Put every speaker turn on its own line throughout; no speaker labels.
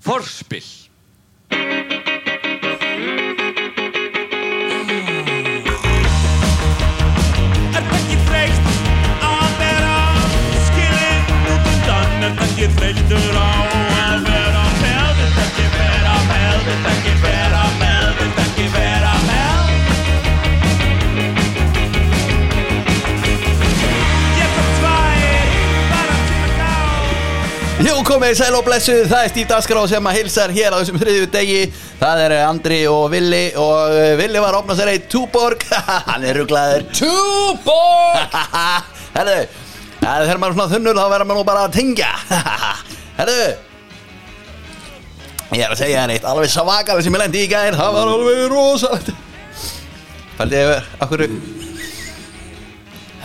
Forspill
Er það ekki þreytt á að vera skilin út undan? Er það ekki þreyttur á að vera með? Vilt ekki vera með, vilt ekki vera með, vilt ekki vera með? Ég þarf tvær, bara til að ná.
Jú komið, sæl og blessuð, það er Stíf Daskará sem að hilsar hér á þessum þriðju degi Það er eh, Andri og Villi og eh, Villi var að opna sér eitt túborg Hann er ruglaður
Túborg
Herðu, eh, þegar maður er svona þunnul þá verður maður nú bara að tengja Herðu Ég er að segja henni eitt alveg svakalega sem ég lendi í gær Það var alveg rosalegt Fældi ég yfir, akkur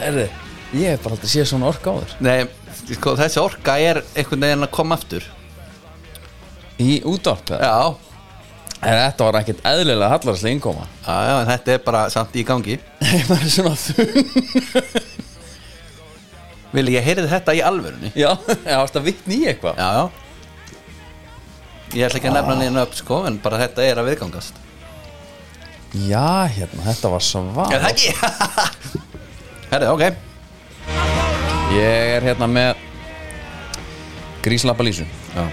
Herðu, ég hef bara aldrei séð svona ork á þér
Nei, sko, þessi orka er einhvern veginn að koma aftur
Í útvarp ja.
Já,
Þetta var ekkert eðlilega hallarslega innkoma
já, já, en þetta er bara samt í gangi
Ég var svona þunn
Vili, ég heyrði þetta í alvörunni
Já, það varst að vitni í eitthvað
Já, já Ég ætla ekki að nefna neina upp sko En bara þetta er að viðgangast
Já, hérna, þetta var svá
Er það ekki? Herri, ok
Ég er hérna með Gríslappa Lísu
Já.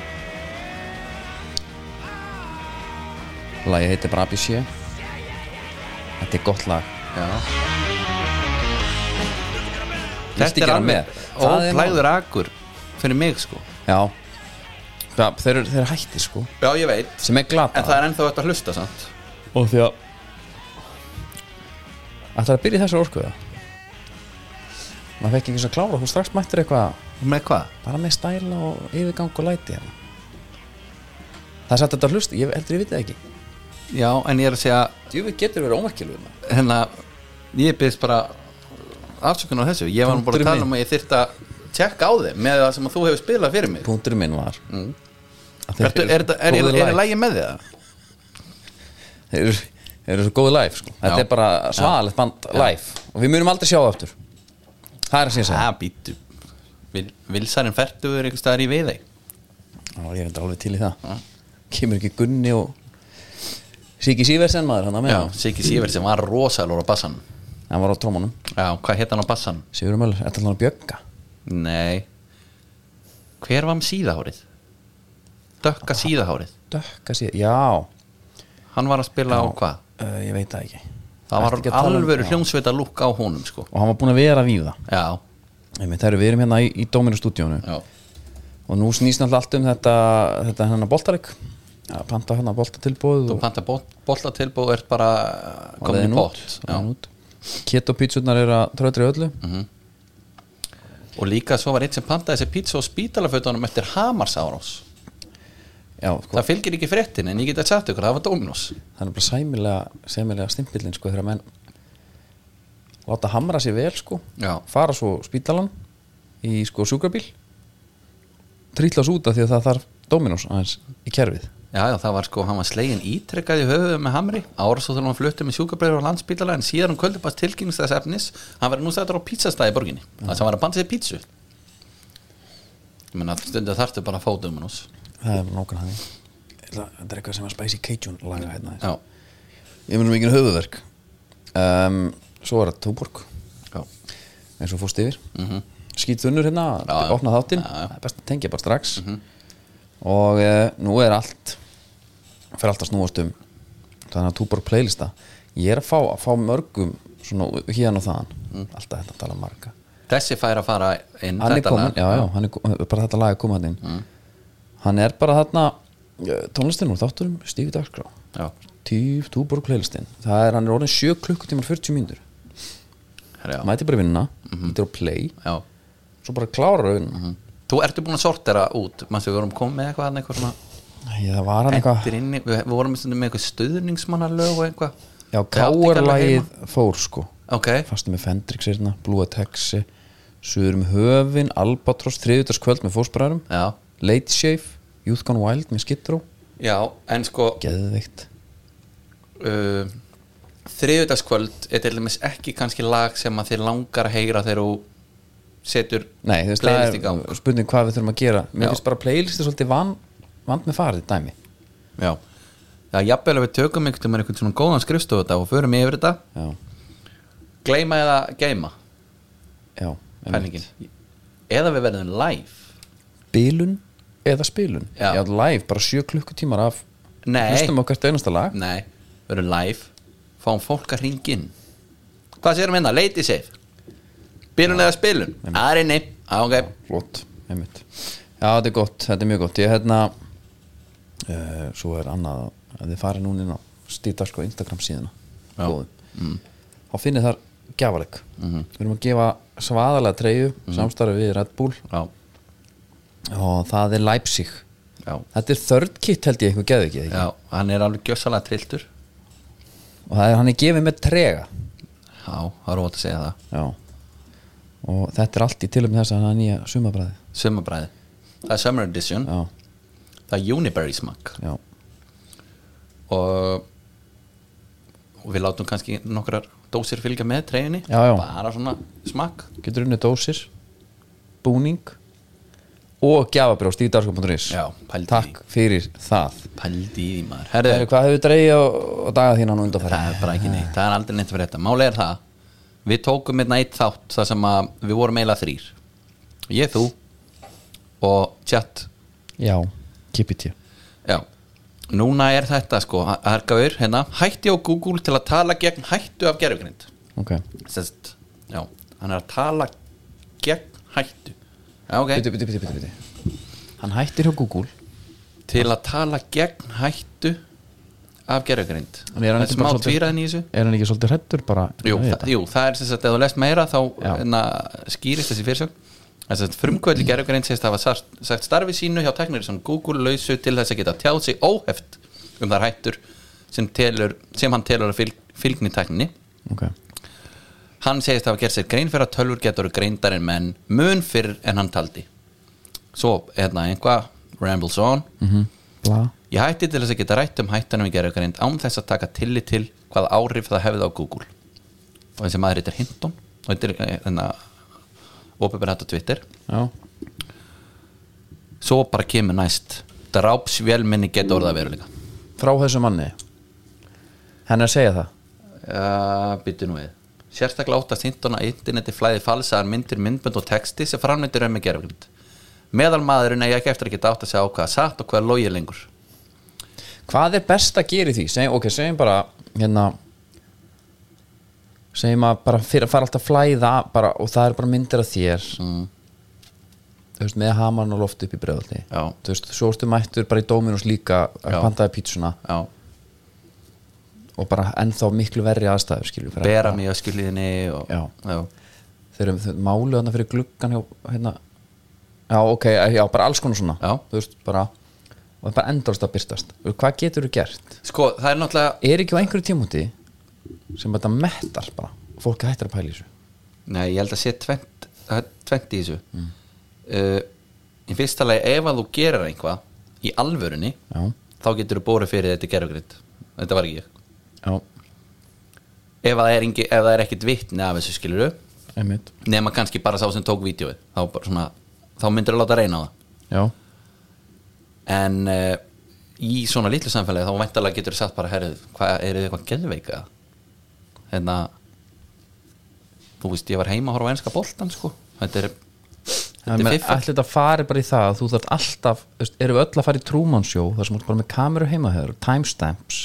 Lagi heitir bara ABC Þetta er gott lag Viltu
Þetta er
gera
alveg
með? Það er
óplæður akkur Fyrir mig sko
Já Það, þeir, eru- þeir eru hætti sko
Já, ég veit
Sem er glata
En það er ennþá þetta að hlusta samt
Og því að Ætlar að byrja í þessu orkuða Maður fekk ekki eins og klára Hún strax mættir eitthvað
Með hvað?
Bara með stæla og yfirgang og læti hérna Það er satt þetta hlust Ég heldur ég viti það ekki
Já, en ég er að segja
Djúfið getur verið ómerkilegum
Hérna, ég byrðist bara Afsökun á þessu Ég var nú bara að
Punkturinn
tala um að ég þyrft að Tjekka á þeim með það sem að þú hefur spilað fyrir mig
Púnturinn minn var mm.
Ertu- Er þetta- er- er- er í
læg
lægi með þið það?
Þeir eru- þeir eru svo góði live sko. Þetta
Já.
er bara svaðalegt band live Og við munum aldrei sjá það aftur Það er að segja segja
Það býtu Ah, Vil, Vilsarinn færtuður einhvers staðar í veiði
Já, ég er enda alveg til í það Kemur ekki Gunni og Siki Sýversen maður hann að með
Já, Siggi Sýver sem var rosalur á bassan
Hann var á trómanum
Já, hvað hétt hann á bassan?
Sigur Möller, þetta er hann að bjögga
Nei Hver var með síðahárið? Dökka síðahárið
Dökka síðan, já
Hann var að spila á hvað?
uh, Ég veit það ekki
Það
Ertu
var
ekki að tala um-
alvöru
Já.
hljómsveita lúk á honum sko
Og hann var búin að vera við það
Já,
Einmitt, það eru, Við erum hérna í, í Dóminu stúdíónu
já
Og nú snýst náttúrulega allt um þetta Þetta hennar boltaleg að Panta hennar boltatilbúð
Þú
og,
panta boltatilbúð er bara
og
komin í
leiðin út,
bótt
leiðin út. Keto pítsurnar eru að tröðri öllu
Mhm. Og líka svo var eitt sem pantaði þessi pizza og spítalafötunum eftir Hamarsárós
Já, sko,
Það fylgir ekki fréttin en ég get að sagt ykkur það var Dominos
það er bara sæmilega sæmilega stimpillin sko þegar menn láta hamra sér vel sko
Já.
fara svo spítalan í sko sjúkrabíl trýtlas út af því að það þarf Dominos aðeins í kerfið
Já, já, það var sko, hann var slegin ítrekkað í höfuðu með hamri ára svo þegar hann flutti með sjúkabræður á landsbítala en síðan um kvöldupast tilkynnings þess efnis hann var nú stættur á pizzastæði í borginni þess að hann var að banta sér pizzu ég menna, stundu þarftu bara að fá Dominos
það er nokkar þannig Ætla- þetta er eitthvað sem að Spicy Cajun laga hérna
Já,
ég munum ekki höfuverk um, svo er það Túborg
já, Mhm.
eins og fórst yfir mm -hmm. skýtðunur hérna,
Já, já.
opna þáttinn
Já, Mhm. já.
það er best að tengja bara strax og e, nú er allt fyrir allt að snúast um þannig að túborg playlista ég er að fá, að fá mörgum svona hérna og þaðan, alltaf þetta að tala um marga
þessi fær að fara inn
hann er
Mhm. þetta
komin,
lag. Mhm.
já, já, hann er, kom- bara þetta lag er komin hann inn hann er bara þarna eh, tónlistin úr þátturum Stífi Dagskrá
já,
Tíf, túborg playlistin það er hann er orðin 7 klukkutímar 40 mínútur
herra, já, Mhm.
mæti bara í vinnuna, ítir á play
já.
svo bara klárar auðvitað
Þú ertu búin að sortera út manstu, við vorum komið með eitthvað, þarna, eitthvað svona
Nei, það var hann eitthvað
eftir inni, við, við vorum stundum með eitthvað stuðningsmannalög og eitthvað Ég
Já,
átti ekki alveg heima.
káarlægið fór sko
Ok,
Fastum með Fendrix hérna, Blúa Texi Suður um höfin, Albatross Þriðutaskvöld með fósbræðurum
já,
Late Shave, Youth Gone Wild með Skittró
já, en sko
Geðveikt
uh, þriðudagskvöld er til dæmis ekki kannski lag sem að þið langar að heyra þegar þú setur
Nei, þú veist,
playlist í
það
gang
er spurning hvað við þurfum að gera
Já.
Mér finnst bara playlisti svolítið van vand með farið dæmi
sko. Já, já jafnvel að við tökum einhvern veginn svona góðan skrifstofu þetta og förum yfir þetta,
já,
gleyma eða geima
já einmitt.
pælingin, eða við verðum live
bilun eða spilun
Já.
já live, bara sjö klukkutímar af
Nei.
hlustum á hvert einasta lag
Nei, við verðum live fáum fólk að ringin Hvað sérum hérna, lady safe Bílun eða spilun, það er inni Já, ok,
flott, einmitt já, þetta er gott, þetta er mjög gott ég hérna uh, svo er annað að þið farið núna inn á stíðdalsko Instagram síðuna
Já. Mhm.
mm. þá finnið þar gjafaleg við erum að gefa svaðalega treyju samstarfi við Red Bull
já,
og það er Leipzig
já
þetta er third kit held ég eitthvað geðu ekki eða ekki?
Já, hann er alveg gjössalega trilltur
og það er hann er gefið með trega
Já, það er ótt að segja það
já og þetta er allt í tilum þess að hann er nýja sumabræði
Sumabræði, það er Summer Edition
já,
Það er Uniberry smakk
já,
og, og við látum kannski nokkrar dósir fylgja með treyjunni
Já, já.
bara svona smakk
getur unni dósir búning og gjafabrjóð stíðdarsko.is
Já, pældu í
takk fyrir það
pældi í því maður
Heru,
Herðu,
hvað hefur dreigið á, á daga þína nú undanfæra
það er bara ekki neitt, það er aldrei neitt fyrir þetta máli er það, við tókum hérna eitt þátt það sem að við vorum eiginlega þrýr ég, þú og chat
já, keep it here
já, núna er þetta sko það er gaur, hérna, hætti á Google til að tala gegn hættu af gerfugrind
ok,
sérst, já, hann er að tala gegn hættu já, ok
bitu, bitu, bitu, bitu, bitu hann hættir hjá Google
til að tala gegn hættu af gerðugrind
En er hann
það
ekki
er smá
bara svolítið-
tvíraðin í þessu
er hann ekki svolítið hrettur bara
jú,
við
það,
þetta?
jú, það er sem sagt, ef þú lest meira þá
Já.
na, skýrist þessi fyrirsögn Það er sem sagt, frumkvöldi gerðugrind sést hafa sagt, sagt starfi sínu hjá teknir sem Google lausu til þess að geta tjáð sig óheft um þar hættur sem, telur, sem hann telur að fylg, fylgni tekninni
ok,
Hann segist hafa gert sér grein fyrir að tölvur getur greindar en menn mun fyrr en hann taldi Svo, hérna, einhvað rambles on
bla
Ég hætti til þess að geta rætt um hættanum í gerðugreind án þess að taka tillit til hvað áhrif það hefði á Google og þessi maður heitir Hinton og þetta er eh, þennan opinber hætt á Twitter
já,
svo bara kemur næst drápsvélminni geta orða veruleika
frá þessu manni hann er að segja það
uh, Býttu nú við Sérstaklega óttast Hinton að interneti flæði falsaðar myndir, myndbönd og texti sem framlýttir um með gerðugreind Meðal maðurinn eigi ekki eftir að geta átt að segja á hvað er satt og hvað er logið lengur
hvað er best að gera í því segjum, ok, segjum bara hérna segjum að bara fyrir að fara alltaf að flæða bara, og það er bara myndir af þér mm. þú veist, með hamarn og loft upp í bregðaldi
Já.
þú veist, svo ertu mættur bara í Dominos líka
Já.
að pantaði pítsuna
Já,
og bara ennþá miklu verri aðstæður skilur fyrir
bera mig á skilíðinni og,
Já.
Já.
þeir eru þau málu þarna fyrir gluggan hjá, hérna já, ok, já, bara alls konar svona
Já.
þú veist, bara og það bara endurst að byrtast hvað getur þú gert?
Sko, það er náttúrulega
er ekki á einhverju tímúti sem þetta mettar bara fólk hættir að pæla í þessu
Nei, ég held að sé tvennt, það er tvennt í þessu mm. Í fyrsta lagi, ef að þú gerir einhvað í alvörunni
já,
þá getur þú bórið fyrir þetta gerugrind Þetta var ekki ég
já,
Ef að það er, engi, ef það er ekkit vitni af þessu skilur
einmitt
nema kannski bara sá sem tók vídjóið þá, bara svona, þá myndir þú láta reyna á það
já,
en uh, í svona litlu samfélagi þá væntalega getur þú sagt bara herrið, hvað er þið eitthvað gelveika hérna þú veist ég var heima að horfa á enska boltan sko þetta er, þetta er
ætli
fiffa
þetta fari bara í það að þú þarf alltaf, þú veist, erum við öll að fara í trúmannsjó þar sem þú ert bara með kameru heimahöður timestamps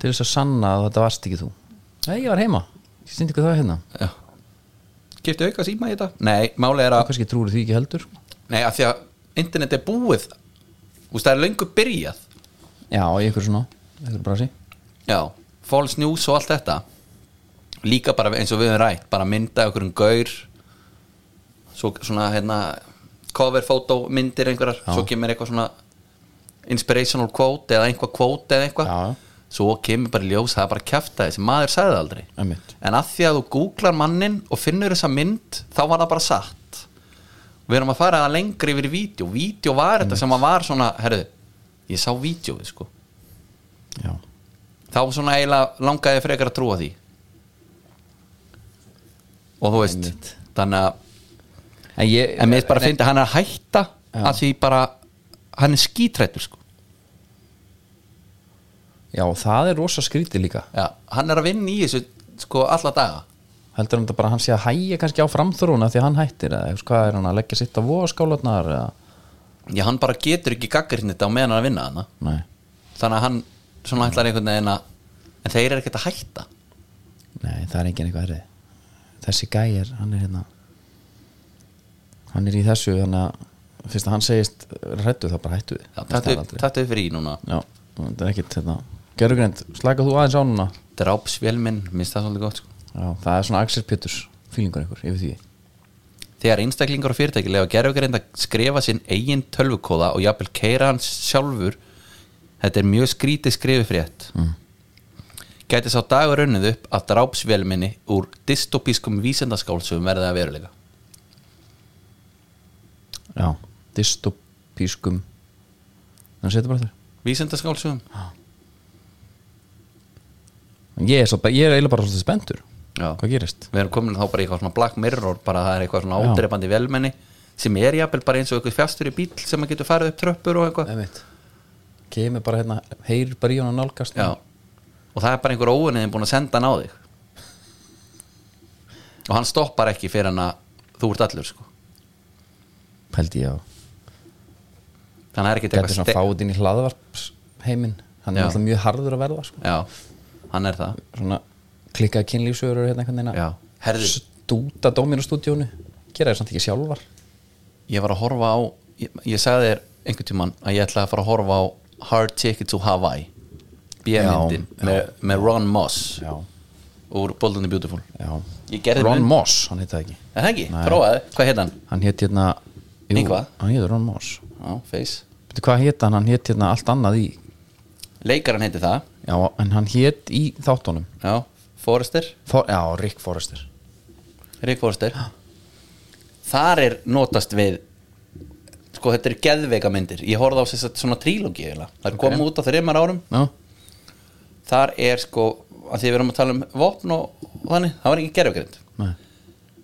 til þess að sanna að þetta varst ekki þú nei, ég var heima, ég syndi ekki það hérna
Já Kiptu auka síma í þetta? Nei, máli er
og
að
kannski trúir því ekki heldur
Nei, af því að internet er búið Þú veist, það er löngu byrjað
já, í einhverju svona, einhverju brasi
Já, false news og allt þetta Líka bara eins og við höfum rætt Bara mynda okkur um gaur Svo svona, hérna Cover photo myndir einhverjar Svo kemur eitthvað svona Inspirational quote eða einhvað quote eða eitthvað
Já.
Svo kemur bara í ljós Það er bara að kjafta þessi, maður sagði það aldrei
Einmitt.
En að því að þú googlar mannin Og finnur þessa mynd, þá var það bara satt Við erum að fara það lengri yfir í vídeo Vídeo var þetta sem að var svona Herðu, ég sá vídeoið sko
já,
þá svona eiginlega langaði ég frekar að trúa því og þú veist þannig að
en ég
en mér finnst bara að finna hann er að hætta að því bara hann er skítrættur sko
Já, það er rosa skrítið líka
Já, hann er að vinna í þessu sko alla daga
Heldur hann þetta bara að hann sé að hægja kannski á framþróuna því að hann hættir eða eitthvað, hvað er hann að leggja sitt á vóaskálarnar eða
Já, hann bara getur ekki gaggrinni þetta á meðan hann er að vinna hana
Nei,
Þannig að hann svona ætlar einhvern veginn að En þeir eru ekkert að hætta
nei, það er engin eitthvað erfið Þessi gæjar, hann er hérna Hann er í þessu þannig að fyrst að hann segist hrættu þá bara hættu við
Já,
Fyrst
Þetta
það er aldrei-
þetta er fyrir í núna
Já, þetta er ekkit hérna Gerugrind, slaka þú aðeins á núna
Drápsvél minn, minnst það svolítið gott sko
Já, það er svona Axel Peturs fílingur einhver yfir því
Þegar einstaklingar og fyrirtæki lefa gerfugreind að skrifa sinn eigin tölvukóða og jafnvel keira hans sjálfur þetta er mjög skrítið skrififrétt mm. Gæti sá dagur runnið upp að drápsvelminni úr dystopískum vísendaskálsum verði að veruleika
Já, dystopískum Þannig að setja bara þér
Vísendaskálsum?
Ég er, svo, ég er eiginlega bara svolítið spenntur
Já
Hvað gerist?
Við erum komin þá bara í eitthvað svona black mirror bara það er eitthvað svona
Já.
ódreifandi velmenni sem er jafnvel bara eins og eitthvað fjastur í bíl sem að getur farið upp tröppur og eitthvað
Einmitt. Kemur bara hérna, heyrir bara í hann að nálgast
Já. og það er bara einhver óunniðin búin að senda hann á þig og hann stoppar ekki fyrir hann að þú ert allur sko
Pældi ég á
þannig að það er ekkert
Gæti
eitthvað
svona
ste-
fáið inn í hlaðvarps heiminn Hann
Já.
er alltaf mjög harður að verða sko.
já, hann er það
Svona klikkaði kynlífsögur eru hérna einhvern
Já.
veginn að
Herðu.
Stúta dóminustúdíónu Gera þér samt ekki sjálfar
ég var að horfa á, ég, ég sagði þér einhvern tímann að ég ætlaði að fara að horfa á Hard Ticket to Hawaii B-myndin
Já, já.
með, með Ron Moss
Já,
úr Bold and the Beautiful
já
Ég gerði
Ron
mun-
Moss, hann heita ekki
er það ekki,
Nei.
prófaði, hvað heit hann?
Hann hétt hérna jú,
Í hvað?
Hann hétt Ron Moss
Já, face
Veitu hvað hétt hann? Hann hétt hérna allt annað í
leikarinn heiti það,
Já, en hann hétt í þáttunum
já, Forrester
For, Já, Rick Forrester
Rick Forster þar er notast við sko þetta eru geðveika myndir ég horfði á þess að svona trílógi það okay. kom út á þreymar árum
Já,
þar er sko, að því við erum að tala um vopn og, og þannig, það var ekki geðveikarind
nei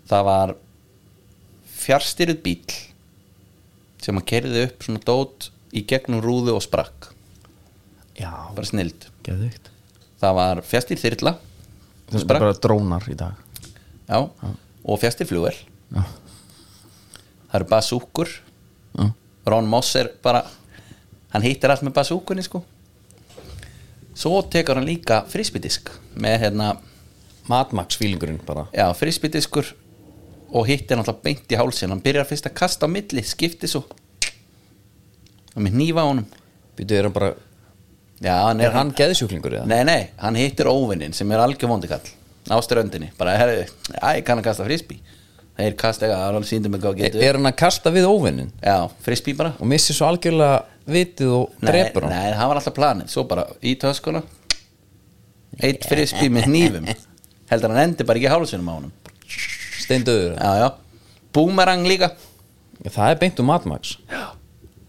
það var fjárstyrð bíl sem að kerði upp svona dót í gegnum rúðu og sprakk
Já,
bara snild
geðvikt
það var fjárstyrð þyrla
Það er
Sprakk.
bara drónar í dag
já, og fjárstyrð flugvel
Já,
það eru basúkur
já,
Ron Moss er bara hann hittir allt með basúkunni sko svo tekur hann líka frisbydisk með hérna,
Madmax fílingurinn bara
já frisbydiskur og hittir hann alltaf beint í hálsin hann byrjar fyrst að kasta á milli, skipti svo og með nýfa honum
Býtu, er hann bara
já, hann er,
Er hann geðsjúklingur eða?
nei, nei, hann hittir óvinnin sem er algjör vondikall ásturöndinni, bara herri, æ, ég kann að kasta frisby þeir kasta eitthvað, það er alveg síndum eitthvað að
Er,
geta
er hann að kasta við óvinnin?
já, frisby bara
Og missir svo algjörlega vitið og drepur hann?
Nei, það var alltaf planið, svo bara í töskuna Eitt frisbee með hnífum Heldur hann endi bara ekki hálsunum á honum
Steindauður
Já, já, boomerang líka
Það er beint um Madmax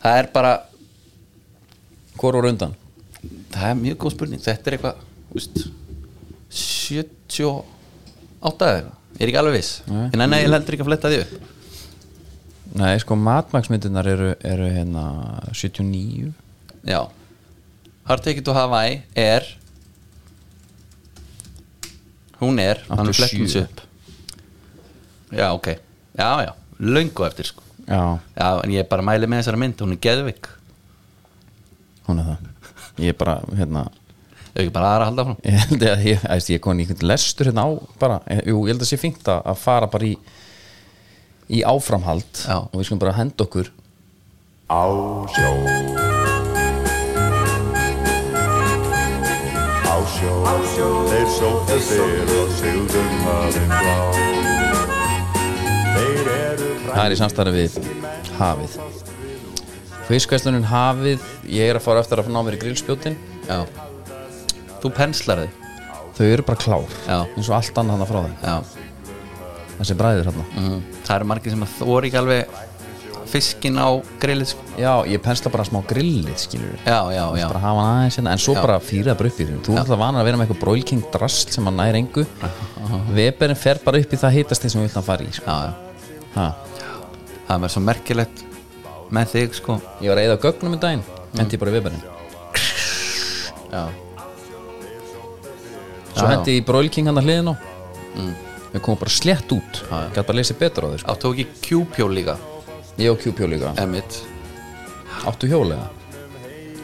Það er bara,
Hvor voru undan?
það er mjög góð spurning Þetta er eitthvað, úst 78 eða eitthvað Ég er ekki alveg viss
Nei.
En nei, ég heldur ekki að fletta því upp
Nei, sko, Madmax myndirnar eru, eru hérna 79
Já Hard Ticket to Hawaii er Hún er Hann er
87.
flettins upp Já, ok Já, já, löngu eftir sko
Já,
Já, en ég bara mæli með þessari mynd Hún er geðvik
hún er það Ég er bara, hérna
Ef ekki bara aðra að halda frá
Ég held að ég, æst, ég er komin í einhvern lestur hérna á bara, eh, jú, ég held að sé fínt að, að fara bara í í áframhald
Já.
og við skulum bara henda okkur
Á sjó Á sjó Þeir sóttu fyrr og sigldum hafinn blá Þeir eru
Það er í samstæðan við hafið Fiskvæslunin hafið Ég er að fara eftir að ná mér í grillspjótin
Já Þú penslar þig
Þau eru bara klár
Já.
eins og allt annað hann frá þeim
Já
Þessi bræður hann
mm. Það eru margir sem að þóri ekki alveg Fiskin á grillið sko
Já, ég pensla bara smá grillið skilur við
Já, já, já
bara hafa hann aðeins hérna, en svo
Já.
bara fýra það bara upp í þeim þú er alltaf vanar að vera með eitthvað broilking drast sem hann nær engu Weberinn fer bara upp í það hitast þeim sem við vilt að fara í sko.
Já, já
Ha.
Það er mér svo merkilegt með þig sko
Ég var að eyða gögnum í daginn Hendi ég bara í viðbærin
já,
Svo
Já, já.
hendi ég í Broil King hann að hliðin á Mm. Við komum bara slétt út Gat bara lesið betur á þau sko.
áttu ekki kjúpjó líka
Ég og QP líka
Emmett
Áttu hjólega?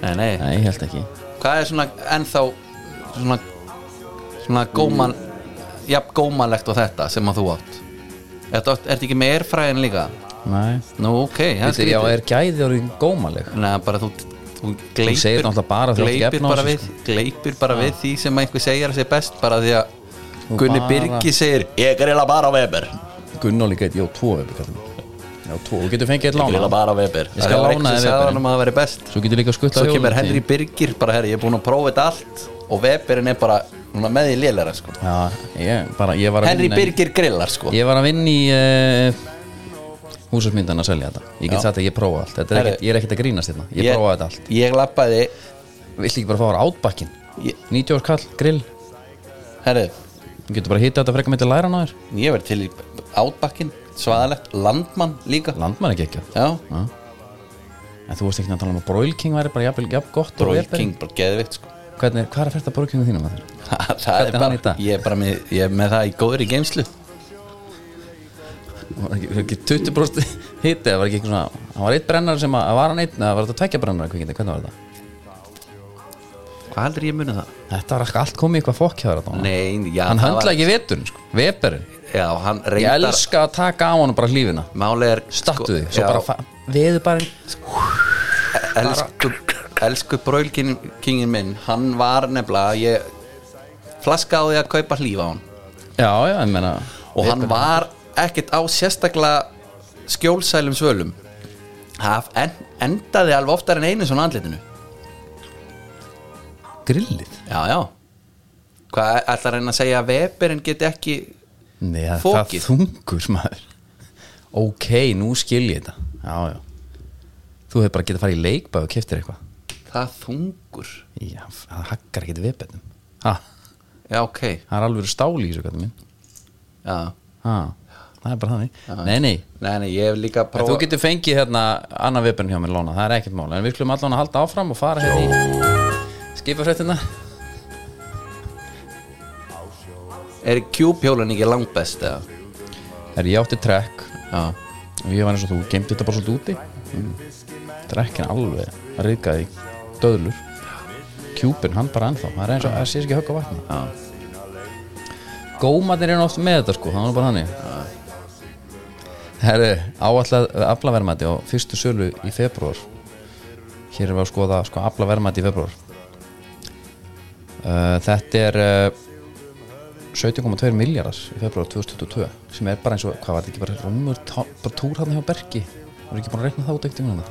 nei, nei.
Nei, ég held ekki
hvað er svona ennþá svona, svona góman jafn gómanlegt og þetta sem að þú átt Ertu átt- ertu ekki með erfræðin líka?
Nei
Nú, ok, það
Þetta er, já, er gæði orðin gómaleg
Neða, bara þú, þú
Þú segir
gleipir,
náttúrulega bara þegar þú ert
gleipir,
gefn á
bara,
þessu,
við, gleipir bara við því sem einhver segir að segja best bara því að
Þú
Gunni
bara-
Birgi segir ég er eða bara Weber
Gunnar líka eitt, já, tvo Weber kallum Já, tvo, þú getur fengið eitt
ég er eða
lána
bara Weber
Ég skal
Það var
lána
einhver
þér
sem sagði
Weberinn.
honum að það væri best
Svo getur líka skutt
svo kemur Henry Birgir bara herri ég er búinn að prófa þetta allt og Weberinn er bara núna með því lélera sko
Já, ég, bara, ég var að
Henry
vinna í-
Birgir grillar sko
Ég var að vinna í uh, húsasmyndan að selja þetta Ég get sagt að ég prófa allt Þetta er
Herri.
ekkit, Ég er ekkert að grínast hérna Ég prófa þetta allt
ég lappaði
Viltu ekki bara fá ára átbakkin?
ég-
90 árs kall, grill
herri
Þú getur bara að hita þetta frekar með til læra náður
ég verð til í átbakkin svaðalegt landmann líka
Landmann ekki ekki
já
En þú veist ekki að tala um að Broil King væri bara jafn, jafn gott og
Broil
Weber.
King bara geðvikt sko
Hvernig, Hvað er að fyrta Broil Kingu þínum að þér?
það
er
er
hann í
bara
dag?
ég er bara með, ég er með það í góðri geimslu
Var ekki, var ekki 20 brosti hitti Það var ekki eitthvað svona Það var eitt brennar sem að Var hann einn eða var þetta tvekja brennar Hvernig var þetta?
hvað heldur ég muni það?
Þetta var ekki allt komið í eitthvað fokk hjá þér þarna.
nei já
Hann
það var-
höndla ekki veturinn sko Veberinn
já hann
Ég
reyndar
elska að taka á hann bara hlífina
málið er sko-
Stattu þig Svo
já,
bara fa- veður bara
elsku, elsku brölkingin minn hann var nefnilega ég flaska á því að kaupa hlíf á hann
Já, já, ég meina
og hann
Weberinn.
var ekkert á sérstaklega skjólsælum svölum það en, endaði alveg oftar en einu svona andlitinu
Grillið
já, já hvað ætlar hann að segja að Weberinn geti ekki
Nei, það, það
Fokið.
þungur maður Ok, nú skil ég þetta Já, já Þú hefur bara getað að fara í leikbæð og keftir eitthvað
það þungur
Já, það hakkar ekkert viðbennum Ha,
já, ok,
það er alveg stál í þessu kallum minn
já
Ha, það er bara þannig Nei, nei,
nei, nei, ég hef líka
En þú
prófað
getur fengið hérna annað viðbjörn hjá mér lána, það er ekkert mál en við skulum allan að halda áfram og fara hérna í skipafréttina
er kjúpjólun ekki langbest eða?
er ég átti trekk
já,
og ég var eins og þú, gemdi þetta bara svolítið úti mm. trekkin alveg að reyka í döðlur kjúpin, hann bara ennþá það er eins og það sé ekki högg á vatna gómatnir eru oft með þetta sko það var bara þannig Herru, áallega aflaverðmæti á fyrstu sölu í februar Hér erum við að skoða sko, aflaverðmæti í februar uh, Þetta er uh, 17,2 miljardar í februar 2022 sem er bara eins og, hvað var þetta ekki bara rúmur tá- bara túr hann hjá Bergi Var ekki búin að reikna það út ekkert um hann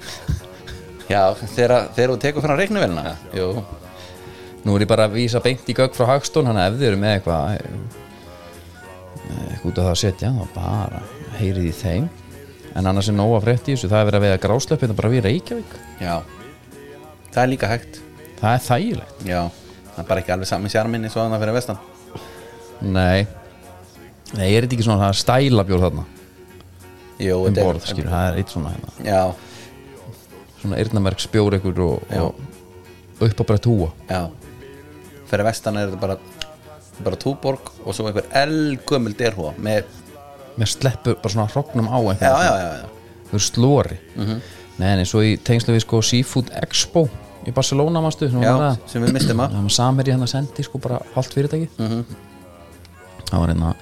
já þegar, þegar þú tekur frá reiknuvelna já. jú,
Nú er ég bara að vísa beint í gögg frá Hagstón hann ef þið eru með eitthvað eh, eitthvað út af það að setja þá bara heyrið í þeim en annars er nóg að frétt í þessu það er verið að veiða gráslepp hérna bara við Reykjavík
já það er líka hægt
það er þægilegt
já, það er bara ekki alveg sami sjarminni svo þannig fyrir vestan
Nei, Nei er þetta ekki svona það er stælabjór þarna
jú,
um
þetta er-
borð, skilur, það er eitt svona hérna
já,
svona eyrnamerk spjór ykkur og, og upp á brett húa
já fyrir vestan er þetta bara bara túborg og svo einhver elgömmul derhúa með,
með sleppur bara svona hrognum á
já,
einhvern
já, já, já Mhm.
þau eru slori Nei, nei, svo í tengslu við sko Seafood Expo í Barcelona, manstu sem var
Já,
það.
sem við mistum af.
Það var samherji hann að sendi sko bara hálft fyrirtæki Það var hérna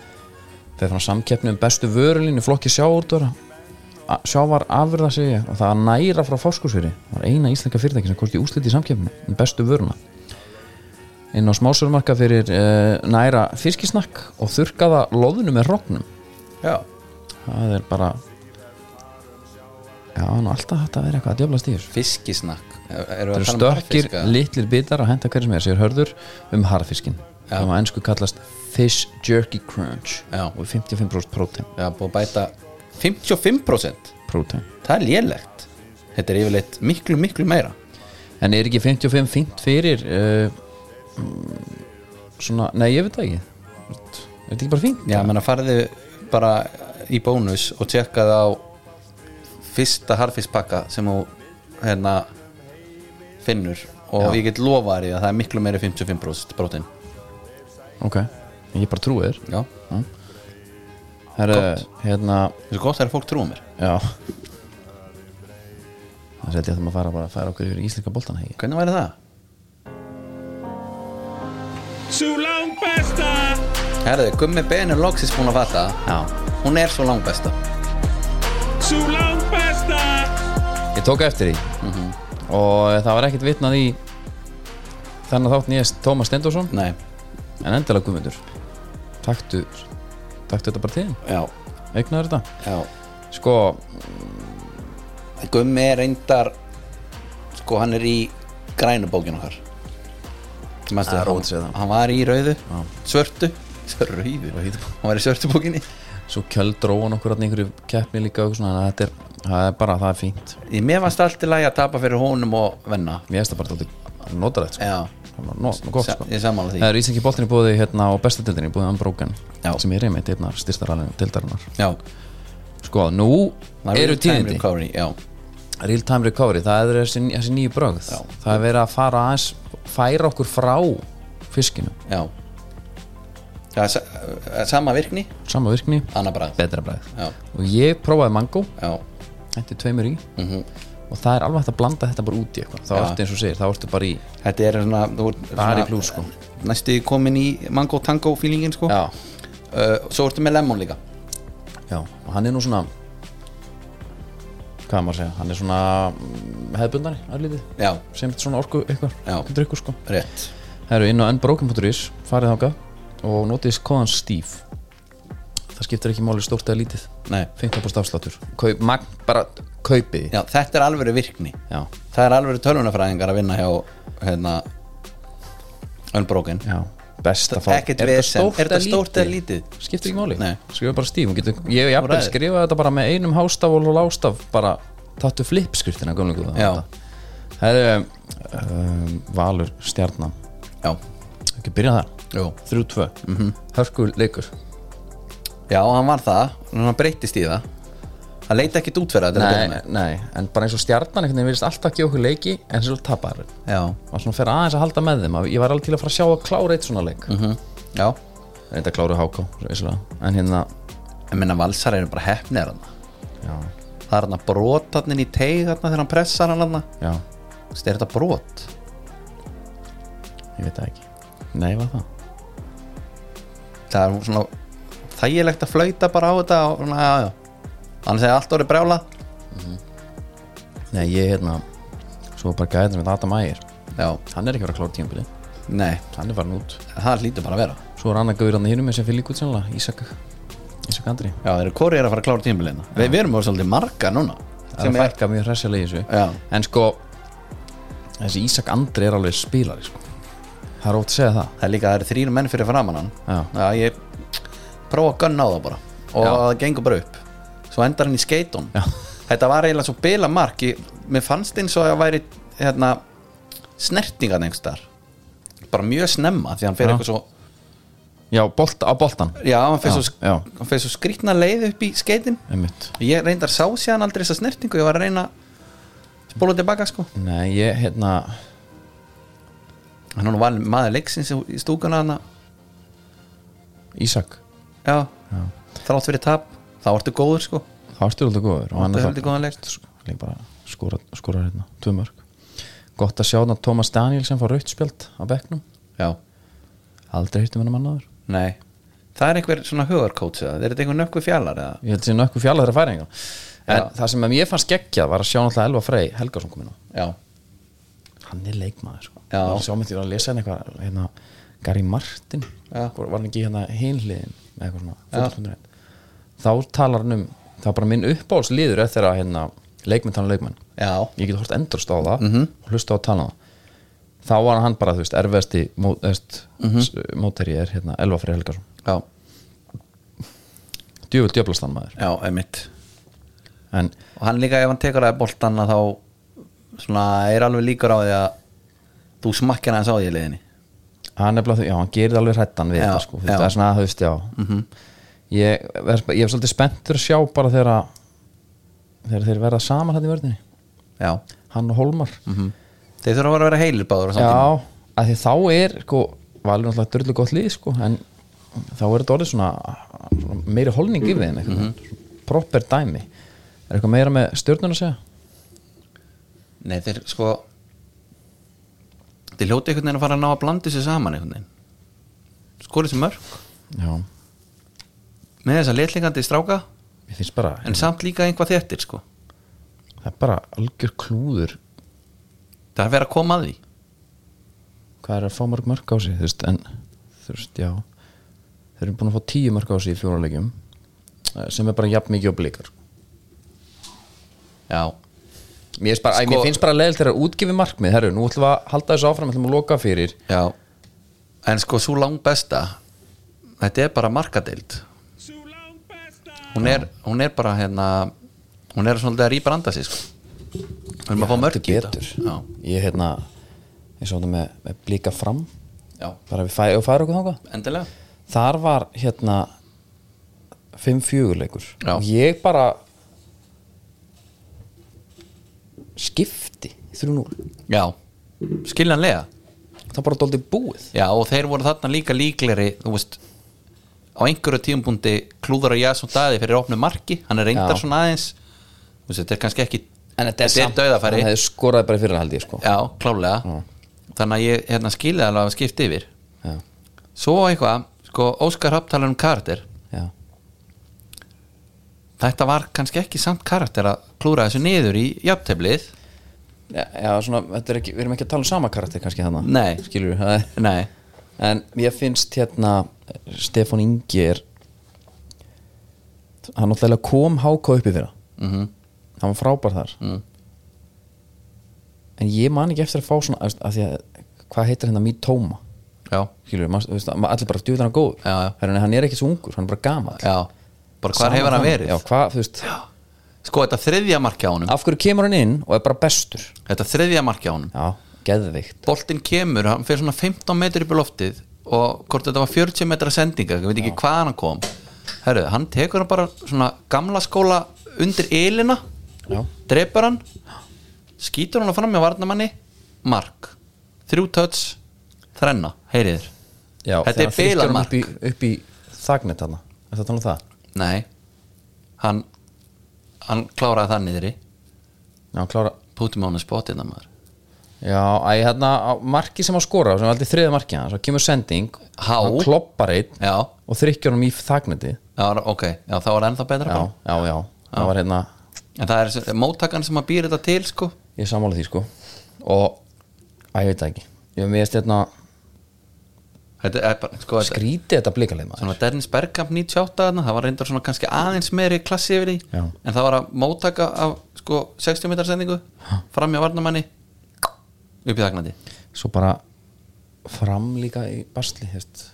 þegar frá samkeppni um bestu vörulín í flokki sjávarútvara sjávar afurða segi ég og það að næra frá fáskursfyrir það var eina íslenska fyrirtæki sem kosti úsliti í samkeppni um bestu vöruna inn á smásörumarka fyrir uh, næra fiskisnakk og þurkaða loðunu með rognum
já,
það er bara já, nú alltaf hægt að vera eitthvað að djöflast í þessu
fiskisnakk
það
það
eru stökkir, litlir bitar að henda hverju sem er sér hörður um harðfiskin
Já.
sem á ennsku kallast fish jerky crunch
Já.
og 55% prótein
já, búið að bæta 55%
prótein
það er lélegt þetta er yfirleitt miklu, miklu meira
en er ekki 55 fint fyrir uh, svona, nei ég veit það ekki er þetta ekki bara fínt?
já, menn að farðu bara í bónus og tjekka það á fyrsta harfispakka sem hún hérna finnur og ég get lofa þér í að það er miklu meiri 55% brotin
ok, ég bara trúi þér
já,
Herru, hérna,
þessu gott það er að fólk trúa mér
já Það seti ég að það maður fara bara að færa okkur yfir í íslenska boltan hegi
hvernig væri það?
Sú lang besta
Herðu, Gummi Ben er loksins búin að fatta það.
Já,
hún er svo langbesta
Sú lang besta
ég tók eftir því
Mhm.
og eh, það var ekkert vitnað í þannig þátt nýjast Tómas Stendorsson
nei,
en endilega Guðmundur taktu, taktu þetta bara til þín,
já,
eignaður þetta
já
sko,
Gummi er reyndar sko hann er í grænu bókin okkar Mestu,
Það er
hann,
rót séð það.
hann var í rauðu svörtu, rauðu hann var í svörtu bókinni
svo kjöldróan okkur þarna í einhverju keppni líka og eitthvað svona, þannig að þetta er, það er bara, það er fínt
í mér varst allt í lagi að tapa fyrir honum og venna
ég veist það bara þetta notalegt sko.
já,
Það var nó- nó- gott,
Sa-
sko.
ég sammála því.
það er ísengi boltin í búði hérna, og besta deildin í búði Unbroken
Já.
sem er einmitt einnar styrstaræðin deildarinnar
já
sko, nú
Það
eru
real time
tíðindi
recovery, já,
real time recovery, það er þessi, þessi nýju brögð
Já.
það er verið að fara aðeins færa okkur frá fiskinu
já það er sa- sama virkni
sama virkni,
annar brað
betra bræð
já,
og ég prófaði mango,
já,
hætti tveimur í og það er alveg hægt að blanda þetta bara út í eitthvað þá
Mhm. Já.
ertu eins og segir, þá ertu bara í
þetta er svona, þú, ert
Bara í
svona-
plús, sko.
næstu komin í mango tango feelingin sko
já,
uh, svo ertu með lemon líka
já, og hann er nú svona hvað á maður að segja, hann er svona mm, hefðbundari, aðlítið
já,
sem er svona orku ykkur,
Já.
drikkur sko
rétt
Það eru inn á unbroken.is, farið þáka og notið kóðan STEVE Það skiptir ekki máli stórt eða lítið
nei
15% afsláttur Kaup, mag, bara kaupið þið.
Já, þetta er alveg virkni
Já.
Það er alveg tölvunafræðingar að vinna hjá hérna Unbroken
Já, best að fá
Ekkert vesen. Er þetta stórt eða lítið?
Skiptir ekki máli,
Nei.
skrifa bara STEVE Hún getur, Ég hef jafnvel
ræður.
skrifað þetta bara með einum hástaf og lástaf bara tattu flipskriftina gömlingu
Já.
Það er um, Valur stjarnan
Já,
Ekki byrja það,
Jú. Mhm.
3-2 mm -hmm. Hörkur leikur
Já hann var það, en hann breytist í það Hann leita ekkit út fyrir þetta
nei, nei, en bara eins og stjarnan einhvern veginn virðist alltaf gefa okkur leiki en svo tapar þeir.
Já,
og svona fer aðeins að halda með þeim að- ég var alveg til að fara að sjá að klára eitt svona leik mm -hmm.
já
reynda að klára háká en hérna
En minna valsar eru bara hefnir hann
já,
Það er hann að brota hann í teig hann þegar hann pressar hann hann
já,
Þessi er þetta brot
ég veit það ekki nei, var það
Það er svona þægilegt að flauta bara á þetta og, svona, já, já. Annars hefði allt orðið brjála
nei, ég hérna svo bara gæðin með Adam Ægir
Já,
hann er ekki að fara að klára tímabilið
nei,
hann er farin út
það hlýtur bara að vera
svo er annar gauður hann í hinum með sem fylg út sannlega Ísak Ísak Andri
Já, þeir eru korið er að fara að klára tímabiliðna Við, við erum bara svolítið marga núna
það er að fækka mjög hressilega í þessu
Já.
en sko þessi Ísak Andri er alveg spilari sko. það er ótt að segja það
Það er líka, það eru þrýr menn fyrir framann hann
Já.
ég prófa að gunna á það bara Og
Já.
það gengur bara upp Svo endar hann í skeitun
Já.
Þetta var eiginlega svo bila mark ég, Mér fannst eins og að það væri hérna, Snertingan einhvers þar Bara mjög snemma Því hann fyrir
Já.
eitthvað svo
Já, bolt, á boltan
Já, hann fyrir
Já,
svo,
já.
hann fer svo skrýtna leið upp í skeitin
Einmitt.
Ég reyndar sá síðan aldrei þessa snertingu Ég var að reyna að Spóla tilbaka sko
Nei, ég, hérna
hann var nú valin maður leiksins í stúkuna hana
Ísak,
já, þrátt fyrir tap þá ertu góður sko
það varstu alltaf góður og
Það
hann
er
er
heldur góðan sko. leik
líka bara skora, skora hérna, tvö mörg Gott að sjá hann að Tómas Daniel sem fór rautspjöld á bekknum
já,
Aldrei hittum hennar mannaður
nei það er einhver svona hugarkóts eða er þetta einhver nökkvi fjallar eða
Ég held sér nökkur fjallað þeirra færingar En
Já.
það sem ég fannst geggjað var að sjá náttúrulega Elva Frey Helgason komin á
já,
Hann er leikmaður sko.
Já.
Var Sjá með því að lesa henni eitthvað hérna, Gary Martin
Já.
Hvor- Var hann ekki hérna hinliðin með eitthvað svona fótbolta.net. Þá talar hann um Það er bara minn uppáhalsliður er þegar að, hérna, leikmenn tala um leikmenn
já, Mhm.
ég get hort endurst á það og hlusta á að tala þá var hann bara, þú veist, erfiðasti mó- þú veist,
Mhm.
s- mótherji er hérna Elva Freyr Helgarsson,
já,
djöfull djöflastan maður
já, einmitt
en
og hann líka ef hann tekur að boltanna þá svona er alveg líkur á því að þú smakkar hans á því í leiðinni
hann er bara, já, hann gerir alveg hrættan við
Já,
þetta sko,
já.
þú veist,
Mhm.
það er svona að, þú veist, já ég, er, ég er svolítið spenntur að sjá bara þegar að þegar þeir verða saman hann í vörðinni
já
hann og Holmar
Þeir þurfa að vera að vera heilir báður á
já,
Mhm, samtíma
að því þá er sko, valur náttúrulega dörlu gott lið sko, en þá er þetta orðið svona, svona meiri holning yfir þeim mm
Mhm.
proper dæmi er eitthvað meira með stjörnun að segja
Nei, þeir sko Þeir hljóti einhvern veginn að fara að ná að blanda þessu saman einhvern veginn Skorið sem mörg
já,
Með þess að letlingandi stráka
ég finnst bara
En samt líka einhvað þettir sko
það er bara algjör klúður
Það er að vera að koma að því
hvað er að fá mörg mörg á sig þú veist, en þú veist, já þeir eru búin að fá tíu mörg á sig í fjóruleikjum sem er bara jafn mikið og blikar
Já,
mér finnst bara, sko,
Sko-
mér finnst bara leðil þegar að útgifi markmið herru, nú ætlum við að halda þessu áfram ætlum við að loka fyrir
já En sko, svo lang besta Þetta er bara markadeild Hún er, hún er bara hérna Hún er svolítið að rýbranda sig sko Við erum að fá mörg í þetta. Já,
ég hérna ég sá þetta með, með blika fram
já,
bara við fæ, færa okkur þangað
endilega
þar var hérna 5-4 leikur
Já.
og ég bara skipti í 3-0
Já, skiljanlega
það bara dóldi búið
Já og þeir voru þarna líka líkleri þú veist á einhverju tímpundi klúðar að jæsum daði fyrir opnu marki, hann er reyndar
Já.
svona aðeins þú veist, þetta er kannski ekki
En þetta er samt
dauðafæri,
Hann hefði skoraði bara fyrir haldið sko.
já, klálega þannig að ég hérna, skilja alveg að skipta yfir
Já,
svo eitthvað, sko, Óskar Rapp talar um karakter
já,
þetta var kannski ekki samt karakter að klúra þessu niður í jafnteflið,
já, já svona, þetta er ekki, Við erum ekki að tala um sama karakter kannski þarna
Nei.
Skilur við það er-
nei
En ég finnst hérna Stefán Ingi er Hann náttúrulega kom háka uppi fyrir
mm
Hann var frábær þar
Mm.
En ég man ekki eftir að fá svona að, að því að, Hvað heitir hérna mý tóma
já,
Skilur við, maður- þú veist, maður- allir bara djúðan að góður
Já, já.
Herra, Hann er ekki svo ungur, hann er bara gamall
já bara hvar
Sama
hefur hann
þannig.
verið
Já, hvað, þú veist,
sko, þetta þriðja marki á honum
af hverju kemur hann inn og er bara bestur
þetta þriðja marki á honum
Já, geðvikt
boltinn kemur, hann fyrir svona 15 metri upp í loftið og hvort þetta var 40 metra sendinga, ég veit ekki hvaðan hann kom herru, hann tekur hann bara svona gamla skóla undir elina
Já.
drepar hann skýtur hann fram með varnamanni mark, þrjú töts þrenna, heyriður
Já,
þetta er bilamark
upp í, upp í þagnet hana Er það talað um það?
nei, hann hann kláraði það niðri
Já, klára
pútum á hann spotið hérna, maður
Já, æ, hérna, á marki sem að skora sem er aldrei þriða marki hann, svo kemur sending
Há.
hann kloppar einn
já,
og þrykkjar hann í þagneti Já,
já, ok, já, þá var ennþá betra bara.
já, já, það var hérna
en það er þessi- móttakan sem að býr þetta til sko
ég sammála því sko og, æ, ég veit það ekki ég mér veist hérna,
þetta er bara, sko, þetta-
skrítið þetta blikalið
svona
maður
Dennis Bergkamp 98 þarna, það var reyndar svona kannski aðeins meiri klassi yfir því,
Já.
en það var að móttaka af sko 60 metrar sendingu framjá varnamanni upp í þagnandi
Svo bara fram líka í basli, þú veist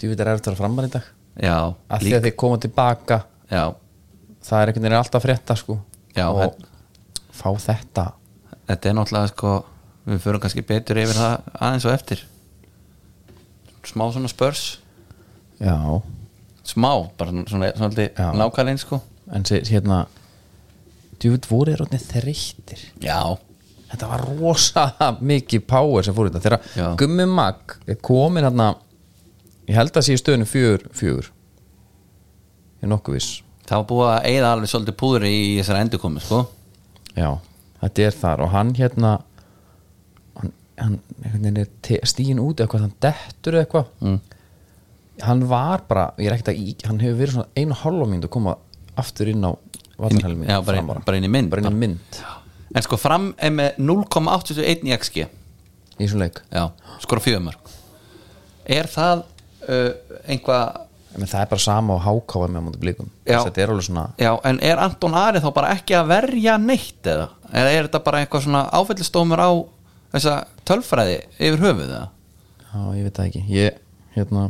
Þú veit, er eftir að framar í dag
já,
að því
lík,
að þið koma tilbaka
já,
það er einhvern veginn alltaf að frétta sko
Já,
og
en-
fá þetta
þetta er náttúrulega sko við förum kannski betur yfir það aðeins og eftir smá svona spörs
já,
smá, bara svona, svona,
Já.
svona nákvæmlein sko
en sér hérna djúvitt voru er orðin þreyttir
já,
þetta var rosa mikið power sem fór í þetta
Já.
þegar Gummi Mag er komin hérna ég held að sé í stöðunum fjögur fjögur ég er nokkuð viss
það var búið að eigða alveg svolítið púður í þessari endurkomi sko
já, þetta er þar og hann hérna hann, hann einhvern veginn er te- stíin út eða eitthvað, hann dettur eða eitthvað mm. hann var bara, ég er ekkert að í- hann hefur verið svona einu hálfa mynd að koma aftur inn á vatnarhelmi
já, bara, bara inn í mynd
bara inn í mynd
en sko fram er með 0,81 í XG
í þessum leik
Já, skora fjöðumörk Er það uh, einhvað
en það er bara sama á hákáa með mútið blíkum
Já.
þetta er alveg svona
Já, en er Anton Ari þá bara ekki að verja neitt eða? Eða er þetta bara eitthvað svona áfellistómur á þessa tölfræði yfir höfuð eða?
já, ég veit það ekki ég, hérna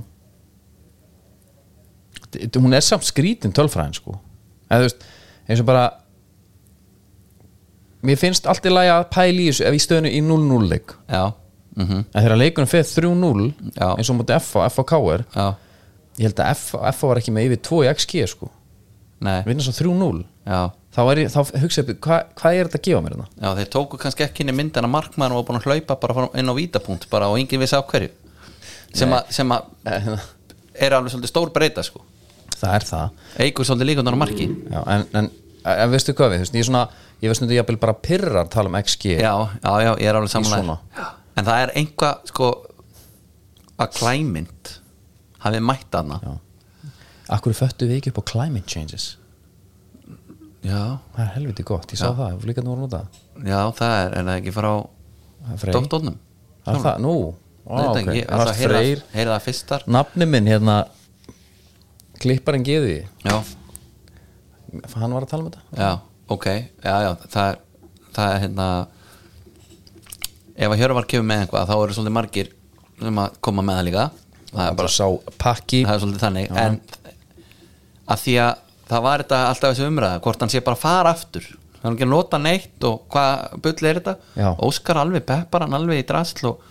D- d- hún er samt skrítin tölfræðin sko eða þú veist, eins og bara mér finnst allt í lagi að pæla í þessu ef ég stöðinu í 0-0 leik
Já, mhm,
en þegar leikunum fyrir 3-0
Já.
eins og mútið FA, FA KR
já
ég held að FA, FA var ekki með yfir 2 í XG sko
Nei,
vinna svo 3-0
já
þá, er ég, þá hugsa ég, hva, hvað er þetta að gefa mér hérna? þetta?
Já, þeir tóku kannski ekki inn í myndina markmann og var búin að hlaupa bara fram- inn á vítapunkt bara og enginn vissi á hverju sem að- sem að er alveg svolítið stór breyta sko
það er það
eigur svolítið líkundan á marki
Já, en, en, en veistu hvað við, þú veist, ég er svona ég veist að ég er bara pyrrar að tala um XG
Já, já, já, ég er alveg
svona.
samanlega En það er einhvað sko að klæmynd hafið mætt hana
Já. Akkur föttu við ekki upp á climate changes
já,
Það er helviti gott, ég sá það, ég líka nú að nota það.
já, það er, er það ekki frá
Það er Freyr.
doktornum
Það er það, nú Ó,
Þetta
ok.
ekki,
Það
alltaf
er
heyra,
Freyr,
heyra það fyrstar
nafni minn hérna klipparinn geði
Já,
hann var að tala um þetta
já, ok Já, já, það er, það er hérna Ef að Hjörvar kemur með einhvað þá eru svolítið margir sem að koma með það líka Það er bara,
sá pakki
það er svolítið þannig En að því að það var þetta alltaf þessi umræða hvort hann sé bara að fara aftur hann er ekki að nota neitt og hvað bull er þetta
Já.
Óskar alveg peppar hann alveg í drasl og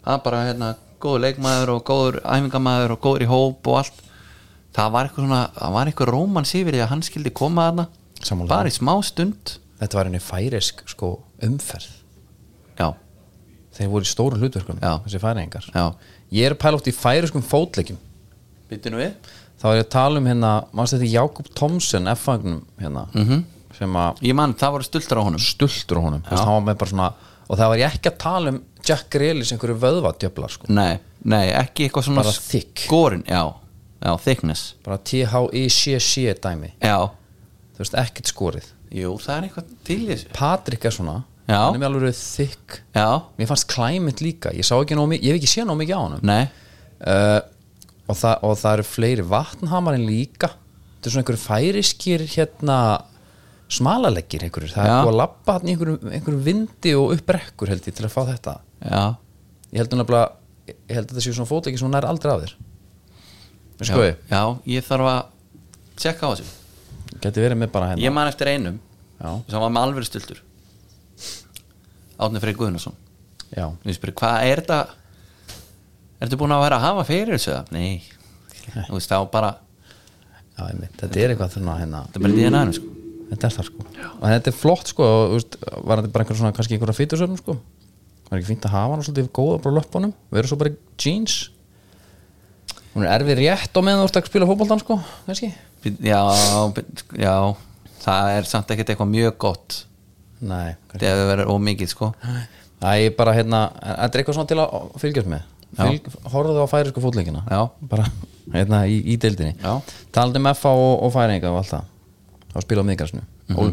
það er bara hérna góður leikmaður og góður æfingamæður og góður í hóp og allt það var eitthvað svona, það var eitthvað rómans yfir því að hann skildi koma að
Sammála.
hana bara í smá stund
þetta var henni færisk sko, umferð
já,
þeir voru í stóru hlutverkunum
Já.
þessi færingar
já,
ég er pælátt í færiskum fótleikjum
byttu nú við
þá er ég að tala um hérna mannst þetta Jakob Thomsen F-fagnum hérna
Mhm.
-hmm. sem að
ég mann, það voru stultar á honum
stultur á honum Þú veist, hann var með bara svona, og það var ég ekki að tala um Jack Grealis einhverju vöðvatjöfla sko.
nei, nei, ekki eitthvað svona
Bara thick.
skorin, já, já, thickness
bara E T-H-I-C-C dæmi
já,
þú veist ekkert skorið
jú, það er eitthvað til í þessu
Patrik er svona
Já.
hann er með alveg þykk
Já,
mér fannst klæmint líka, ég sá ekki nóg mikið ég hef ekki séð nóg mikið á honum
nei,
uh, og, það, og það eru fleiri vatnhamarinn líka þetta er svona einhverju færiskir hérna smalaleggir einhverjur, það
Já.
er búið að labba hann í einhverjum, einhverjum vindi og upprekkur held ég til að fá þetta
já
ég held nefnilega, ég held að þetta séu svona fótleiki sem hún er aldrei af þér
já,
skoði,
já, ég þarf að tjekka á þessu
geti verið með bara
Ég
hérna
man eftir einum
já,
sem var með alveg stultur Átni Freyr Guðnason
já,
Ég spyrir, hvað er þetta Ertu búin að vera að hafa fyrir þessu? eða?" Nei, þú veist, þá bara
já einmitt. þetta er eitthvað þurna hérna
Þetta er bara dýðan aðeins, sko
þetta er það sko og þetta er flott sko og, þú veist, var þetta bara einhver svona kannski einhverja fýtusöfnum sko var ekki fínt að hafa hann svolítið góða bara á löpunum vera svo bara í jeans hún er erfið rétt á meðan þú ert að spila fótboltan sko kannski
Bíddu, Já, bíddu, já Það er samt ekkert eitthvað mjög gott
nei kannski.
Þegar við verður ómikið, sko
það er bara hérna þetta er eitthvað svona til að fylgjast með Fylg, horfðu á færi sko fótleikina
Já.
bara hérna í, í deildinni
Já.
talandi um FA og, og færinga og allt það og spila á miðgarsinu
Mhm.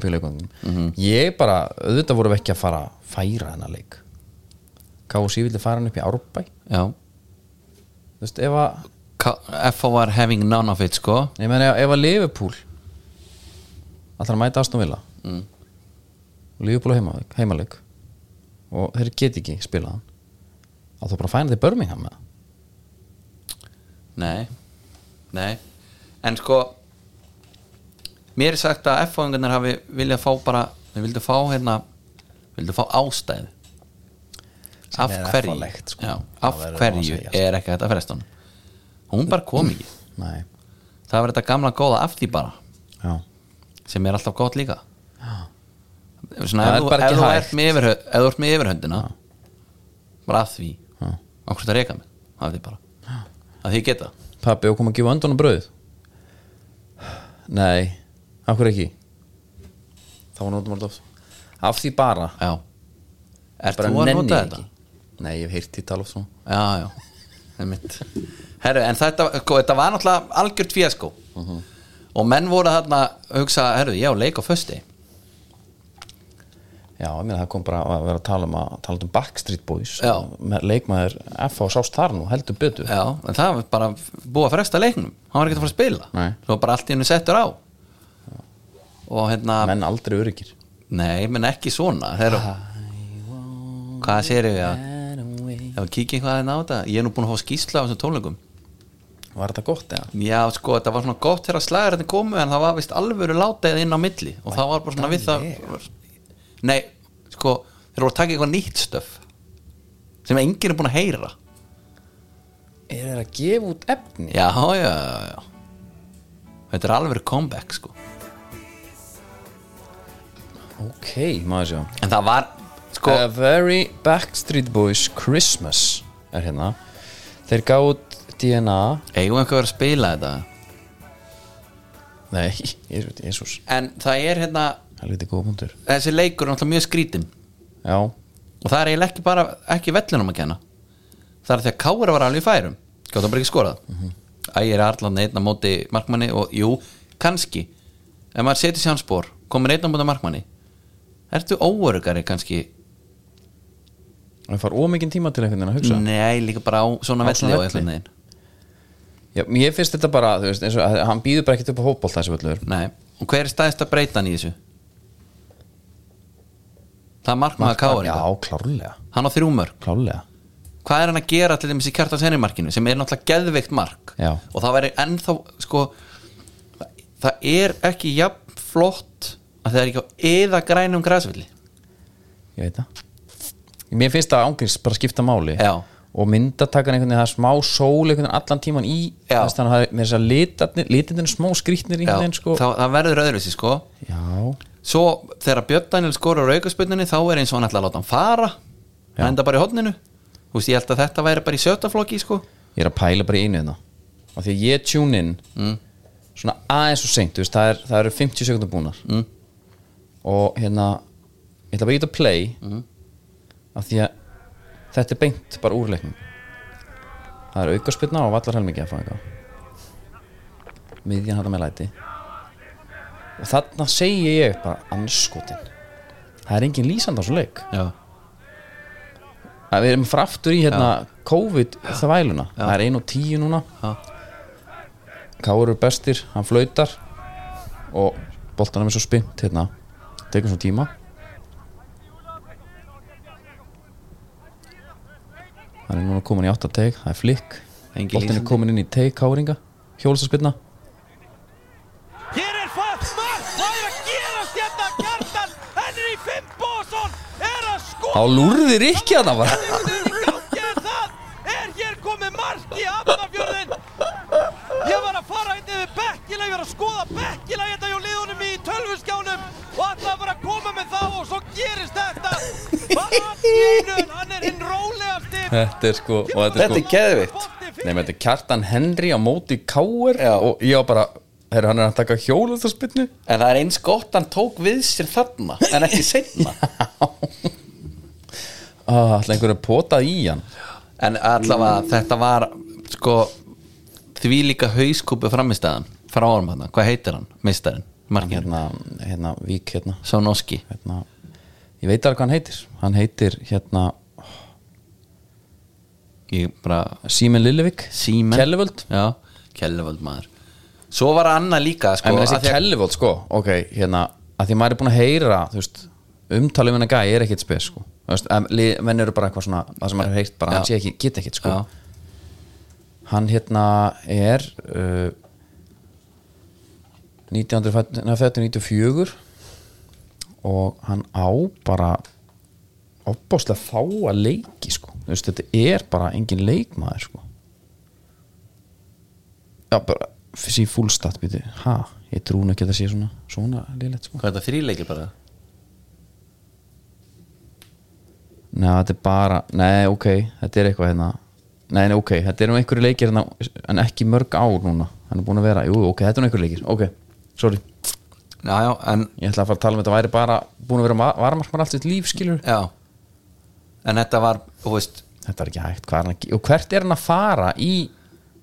mm ég bara auðvitað vorum við ekki að fara að færa hennar leik KFC vildi fara hann upp í Árbæ
Já
þú veist, ef að
K- FO var having none of it, sko
ég meina, ef- ef að Liverpool alltaf að mæta Aston Villa mm. Liverpool á heimaleg, heimaleg og þeir geti ekki spilað hann þá þá bara fæna þeir Birmingham með það.
Nei, nei En sko Mér er sagt að F-fóðingarnir hafi viljað fá bara Við vildu fá hérna Vildu fá ástæð Af
er
hverju
F-fólegt, sko.
já,
Það
Af
verður maður að
hverju
segja, sko.
er ekki þetta frest honum Hún bara kom ekki
Nei,
Það var þetta gamla góða af því bara
já
Sem er alltaf gott líka Svona,
Það
ef,
er
þú,
bara
ef,
ekki
þú
hægt.
ert með yfirhö, ef þú ert með yfirhöndina Bara af því
Já.
Akkur þetta reka mig Af því bara Að því geta
Pappi, og kom að gefa öndunum brauð Nei, af hverju ekki Það var notum alltaf Af því bara,
Já Er
bara
þú að
nenni
nota
ég
þetta?
ekki Nei, ég hef heyrt því tala of svona
já, já, það er mitt herru, en þetta, sko, þetta var náttúrulega algjört fjaskó og menn voru þarna að hugsa, herru, já, leik á fösti
Já, ég meina það kom bara að vera að tala um að tala um Backstreet Boys
Já.
Með leikmaður F.A. sást þar nú, heldur betur
já, en það var bara búið að fresta leiknum hann var ekki að fara að spila
Nei.
svo bara allt í hennu settur á og hérna,
menn aldrei öryggir
nei, menn ekki svona þeir, hvað sér ég að ef að kíkja eitthvað að á þetta ég er nú búin að fá skýsla á þessum tónleikum
var þetta gott eða?
Já, sko, þetta var svona gott þegar slæðarinn komu en það var vist alvöru látaðið inn á milli og það var bara svona við það Nei, sko, þeir voru að taka eitthvað nýtt stöf sem enginn er búin að heyra
er það að gefa út efni?
Já, já, já, já Þetta er alvöru comeback, sko
ok, maður sjá
En það var, sko,
A Very Backstreet Boys Christmas er hérna Þeir gáðu DNA
eigum við eitthvað að vera að spila þetta
Nei, Jésús,
En það er hérna,
helviti góða punktur
þessi leikur er náttúrulega mjög skrítin
Já,
Og það er eiginlega ekki bara, ekki vellinum að kenna Það er því að Kára var alveg í færum Gjóta bara ekki skorað mm -hmm. Ægir Arlan einn á móti markmanni og jú, kannski Ef maður setur sér hans spór, komur einn á móti markmanni Ertu óörugari kannski
það far ómikinn tíma til einhvern veginn að hugsa
Nei, líka bara á svona
Á
velli
svona
og
velli?
eitthvað neginn
Já, mér finnst þetta bara, þú veist, eins og að- hann býður bara ekkert upp á hópbólt þessi völlur
Nei, og hver er staðist að breyta hann í þessu? Það er markmaður Káar
Já, klárlega,
Hann á þrjú mörg
klárlega
Hvað er hann að gera til dæmis í kjartans hennimarkinu sem er náttúrulega geðveikt mark
Já.
og það væri ennþá sko, það er ekki jafn flott að það er ekki á eða grænum græsvilli
Ég veit það Mér finnst það ángriðs bara skipta máli
Já.
Og myndatakan einhvern veginn, það er smá sól einhvern veginn allan tíman í
Já.
Þannig að það er með þess að litarnir- litirnir eru smá skrýtnir einhvern veginn, sko
það, það verður öðruvísi sko
Já,
svo þegar Björn Daniel skorur aukaspunninni þá er eins og hann ætla að láta hann fara
Já.
hann enda bara í hodninu Þú veist, ég held að þetta væri bara í sjötaflokki sko
ég er að pæla bara í einu hérna og því að ég tune in svona aðeins og seint, þú veist, það, er, það eru 50 sekundum búnar mm. og hérna ég ætla bara að geta play mm. af því að þetta er beint bara úrleiknum það er aukarspilna og vallar helmingi að fá eitthvað miðjan hættar með læti og þarna segi ég bara anskotin það er engin lýsand á svo leik
Já,
að við erum fraftur í hérna COVID þvæluna, það er 1 og 10 núna
Já.
Káur er bestir, hann flautar og boltanum er svo spint hérna, tekur svo tíma hann er núna komin í 8 teik, það er flikk
Engin
boltan er
lýsandi.
komin inn í teik Káringa hjólstaspilna
Hér er fast mark, hvað er að gerast hérna kjartan? Henry Fimboson er að
þá
skora!
lúrðir ekki að það bara
Hvernig gangi er það? Er hér komið mark í Hafnarfjörðin? Ég var að fara hérna yfir bekkila, ég var að skoða bekkila hérna hjá liðunum í tölvuskjánum og ætlaði bara að koma með þá og svo gerist þetta. Bara allt í einu, hann er hinn rólegasti.
þetta er sko, og þetta er sko
geðveikt
Nei, menn, þetta er Kjartan Henry á móti Káur og ég á bara, herru, hann er að taka hjólutaspinnu
En það er eins gott hann tók við sér þarna en ekki seinna
ah, Alltaf einhverju að potað í hann
En allavega þetta var sko því líka hauskúpu framistæðan frá árum hann, hvað heitir hann, mistarinn margirinn,
Hérna, hérna, Vík, hérna,
Sónoski
hérna Ég veit alveg hvað hann heitir Hann heitir, hérna,
ég bara,
Símen Lillevik
Símen
Kellevöld
já, Kellevöld maður svo var annað líka sko,
En þessi
af því að-
Kellevöld, sko, ok, hérna að Því maður er búin að heyra, þú veist Umtalið minna gæi er ekkit spes, sko Þú veist, em, lið- Menn eru bara eitthvað svona, það sem maður heirt bara, hann
Já.
sé ekki, get ekkit, sko
já,
Hann hérna er uh, 1994 og hann á bara opbáslega fáa leiki sko. Þú veist, þetta er bara engin leikmaður sko. já bara fyrir fúlstatt býti, ha, ég trú nú ekki að það sé svona svona liðlegt sko
hvað er þetta, þríleikir bara
Nei, þetta er bara, nei, ok, þetta er eitthvað hérna Nei, nei, ok, þetta er nú einhverju leikir hérna, en ekki mörg ár núna Hann er búin að vera, jú, ok, þetta er nú einhverju leikir Ok, sorry,
já, já, en,
ég ætla að fara að tala um þetta væri bara búin að vera ma- varamarkmaður allt sitt líf, skilur
já en þetta var, þú veist
Þetta er ekki hægt, hvað er hann að ge- Og hvert er hann að fara í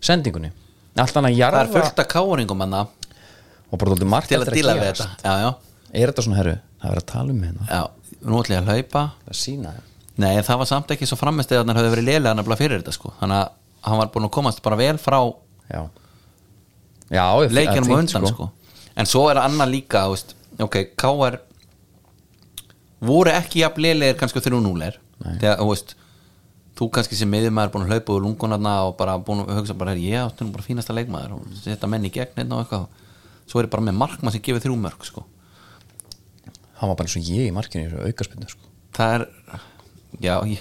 sendingunni? Allt hann að
það er
jarða
fullt af káringum hann
og bara dóldi margt
til að
eftir
díla við
gerast.
þetta já, já,
Er þetta svona, herru, það er að tala um hérna
já, nú ætla ég að hlaupa
Það sína þeim
nei, en það var samt ekki svo framist eða hann höfði verið lélega hann að fyrir þetta sko þannig að hann var búin að komast bara vel frá
Já, já ég-
leikinum
fínt,
á undan sko. en svo er annað líka þú veist, ok, K.R. voru ekki jafn leilegir kannski þrjú núleir þegar, þú veist þú kannski sem miðjumæður búin að hlaupa úr lungunarna og bara búin að hugsa bara, "Herri, ég átti nú bara fínasta leikmaður og setja menn í gegn einn og eitthvað svo er ég bara með markmann sem gefur þrjú mörg sko.
Hann var bara eins og ég í markinu í þessu aukarspinnu sko.
það er já, ég,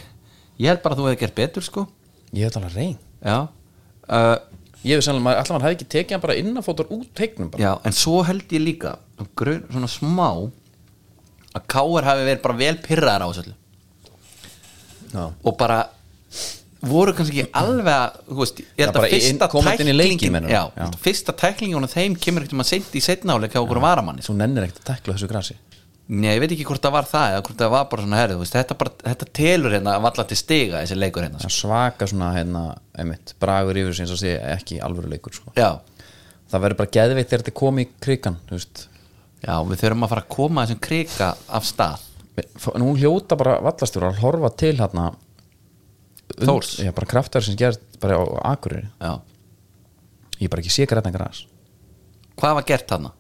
ég held bara að þú hefði gert betur sko.
Ég hef talað reyn
já uh,
Ég hef sannlega, maður- alltaf hann hefði ekki tekið hann bara innanfótur út teiknum bara.
Já, en svo held ég líka grun, svona smá að Káur hafi verið bara vel pyrraðar á þessu öllu
Já.
og bara voru kannski ekki alveg að þú veist, ég held
Já, bara
að fyrsta
inn- komandi inn í leikinn,
tæklingin
meinarðu?
já,
Já.
fyrsta tæklingin og þeim kemur ekkert um að seinti í setna áleik hjá okkur varamanni sko.
Svo nennir ekkert að tekla þessu grasi
Nei, ég veit ekki hvort það var það eða hvort það var bara svona herrið, veist, þetta, bara, þetta telur hérna að valla til stiga þessi leikur hérna
Það
sko.
er svaka svona, hérna, einmitt, bragur yfir sem sé ekki alvöru leikur sko.
já.
Það verður bara geðveikt þegar þetta kom í krikan þú veist.
já, við þurfum að fara að koma þessum krika af stað
Nú hljóta bara vallastjóra að horfa til hérna und-
Þórs.
Já, bara kraftar sem gerst bara á á Akureyri
já.
Ég bara ekki sé grætna gras
hvað var gert þarna?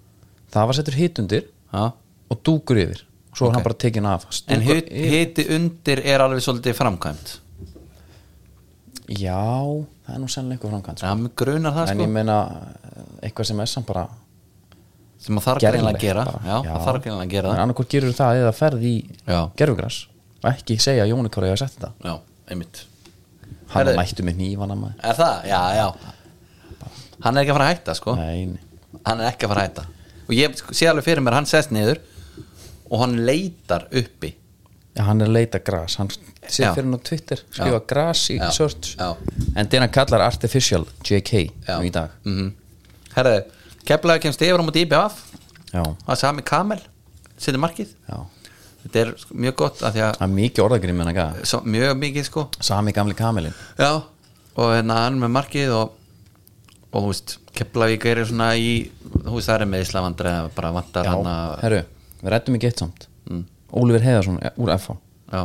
Það var settur hit undir
Já.
og dúkur yfir Svo er hann bara tekin af
en
Stúkur
hit-
yfir.
hiti undir er alveg svolítið framkvæmt
Já, það er nú sennilega eitthvað framkvæmt sko.
það grunar það
En
sko
ég meina eh, eitthvað sem er samt bara
sem það þarf greinlega að gera já, það þarf greinlega að gera það
En annarkvort gerur það eða ferð í
Já.
gerfugras og ekki segja að Jóni Kári hefur sett þetta
Já, einmitt
Hann
Herðu.
mættu með nývana maður
Er það? Já, já Hann er ekki að fara að hætta, sko
Nei, nei.
Hann er ekki að fara að hætta Og ég sko, sé alveg fyrir mér, hann sest niður Og hann leitar uppi
Já, hann er að leita gras Hann sé
Já.
fyrir hann á Twitter skrifa gras í
Já.
search
Já.
En þetta hann kallar Artificial JK
Já.
nú í dag
mm Herðu, keflaði kemst yfir á múti IBF
Já,
Það er sami Kamel Sittir markið
já
Þetta er sko, mjög gott af því að
Það er mikið orðagrið með hann gæða
svo, Mjög mikið, sko
Sami gamli kamilin
Já Og hérna hann með markið og Og þú veist, Keflavík er svona í Þú veist, það er með Íslavandri Bara vantar hann að
Herru, við rættum ekki eitt samt
Mm.
Ólífur Heiðarsson ja, úr FH
Já,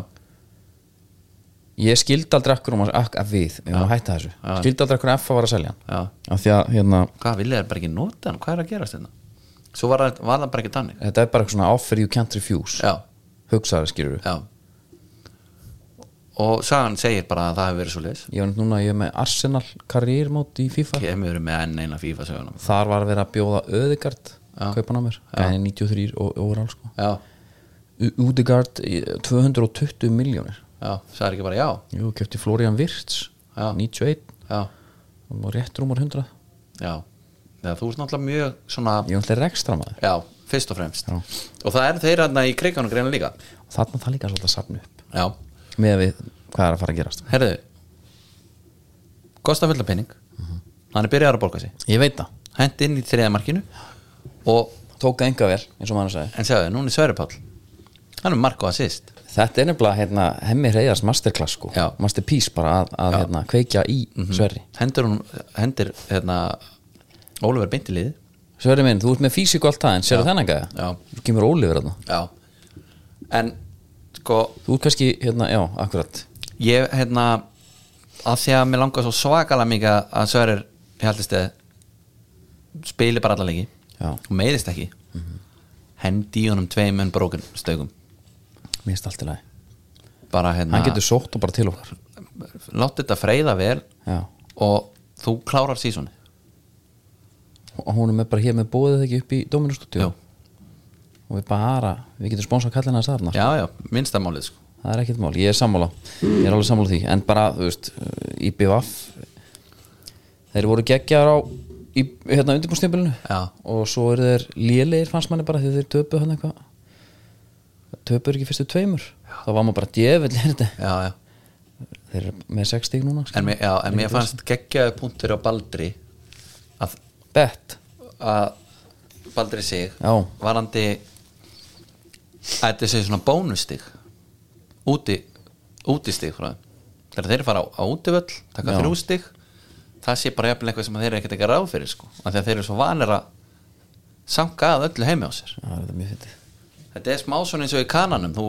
Ég skildi aldrei akkur um að, ak, að við Við erum að hætta þessu Skildi aldrei akkur að FH var að selja hann
já
Af því að hérna
hvað vilja þær bara ekki nota hann, hvað er að gerast hérna svo var, það- var það bara ekki tannig
þetta er bara eitthvað svona offer you can't refuse
já,
hugsaðar skilur við
já og sagan segir bara að það hefur verið svo leis
ég var neitt núna, ég er með Arsenal karriérmót í FIFA
kemur með enn eina FIFA sögunum
þar var að vera að bjóða Öðegard kaupan á mér, en 93 og overall sko.
já,
Udegard 220 miljónir
já, sagði ekki bara já
jú, kefti Florian Virts
Já.
91,
já,
hann var rétt rúmar 100
já, Þegar þú ert náttúrulega mjög svona,
ég var alltaf rekstra maður
já, fyrst og fremst
Já.
og það eru þeir hérna í kriganum greina líka
og þarna það líka svolítið að safna upp
já,
með að við hvað er að fara að gerast
herðu Kosta fulla penning hann er byrjaður að borga sig
ég veit það,
hent inn í þriða markinu og,
tók enga vel eins og maður sagði
en segðu, núna er Sverri Páll hann er mark og assist
Þetta er nefnilega hérna, hemmi reyðast masterclass sko,
Já. Mhm.
masterpiece bara að, að hérna, kveikja í Sverri
hendur hún hendur hérna Ólafur Beintilið
Sverri minn, þú ert með físíku allt það en sérðu þennan gæða?
Já.
Þú kemur Ólífur þarna
já en sko
Þú ert kannski, hérna, já, akkurat
ég hérna að því að mér langar svo svakalega mikið að- að Sörir haldist eða spili bara alla leiki
Já.
og meiðist ekki hendi í honum tveim en brókin stökum
Mér erst allt í lagi
bara hérna
Hann getur sótt og bara til okkar
látt þetta freyða vel
Já.
og þú klárar sísoni
Og hún er með bara hér með bóðið ekki upp í Dóminustúdíu Og við bara, við getum sponsað kallina þess aðna
já já, minnstamálið sko
Það er ekkert mál, ég er sammála Ég er alveg sammála því, en bara, þú veist IBVF Þeir voru geggjar á í, hérna undirbúrstimpilinu
Já.
og svo eru þeir lélegir fannst manni bara því þeir töpu hann eitthvað töpu ekki fyrstu tveimur þá var maður bara djöfull er þetta
já já
þeir eru með 6 stík núna sko.
En, mér- já, en mér fannst geggjaðu punktur á Baldri að,
bett
að Baldri sig
Já.
varandi að þetta sé svona bónustig úti, útistig frá þeim þegar þeir fara á, á útivöll taka
Já.
þrjú stig það sé bara jafnilega eitthvað sem þeir eru ekkert ekki ráð fyrir sko. af því að þeir eru svo vanir að sanka að öllu heimi á sér
það er þetta mjög fyndið
þetta er smá svona eins og í kananum þú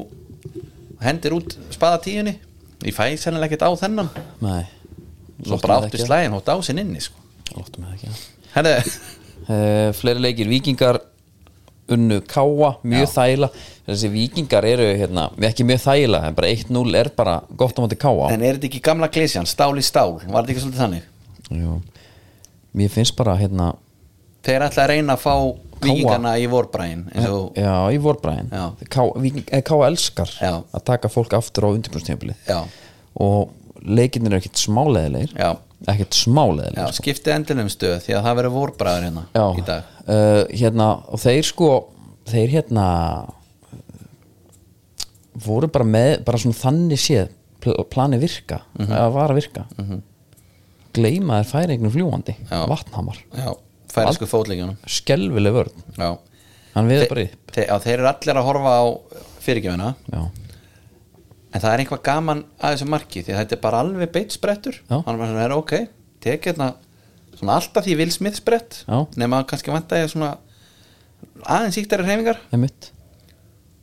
hendir út spaða tíunni ég fæ sennilega ekkert á þennan
nei
svo bara áttu slæðin hótt á sinn inni sko.
lóttum við það ekki
herðu
uh, fleiri leikir, vikingar unnu káa, mjög þæla þessi vikingar eru hérna ekki mjög þæla, en bara 1-0 er bara gott á móti káa
En er þetta ekki gamla klesjan, stál í stál Var þetta ekki svolítið þannig?
Jú. mér finnst bara hérna
Þeir ætla að reyna að fá vikingana í vorbræin eins og,
já, í vorbræðin
Já.
káa, Víking- eh, káa elskar
Já.
að taka fólk aftur á undirbúrstjöfli
Já.
og leikirnir eru ekkert smáleðilegir
Já.
ekkert
já,
smáleðilegir
skiptið endilum stöð því að það verður vorbræður hérna
já,
í dag
uh, hérna, og þeir sko þeir hérna voru bara með bara svona þannig séð pl- planið virka, mm
Mhm.
að vara virka mm -hmm. gleyma þær færingnum fljúandi
Já.
vatnhamar,
já, færisku fótleikjunum
skelvileg vörn
já,
hann veður bara
Þe,
upp
þe, já, þeir eru allir að horfa á fyrirgefina
já,
en það er einhvað gaman að þessu marki því að þetta er bara alveg beitt sprettur
Já.
hann er bara svona, er ok, tekið hérna svona alltaf því Will Smith sprett
Já.
nema að kannski vanta ég svona aðeins síktari hreyfingar
einmitt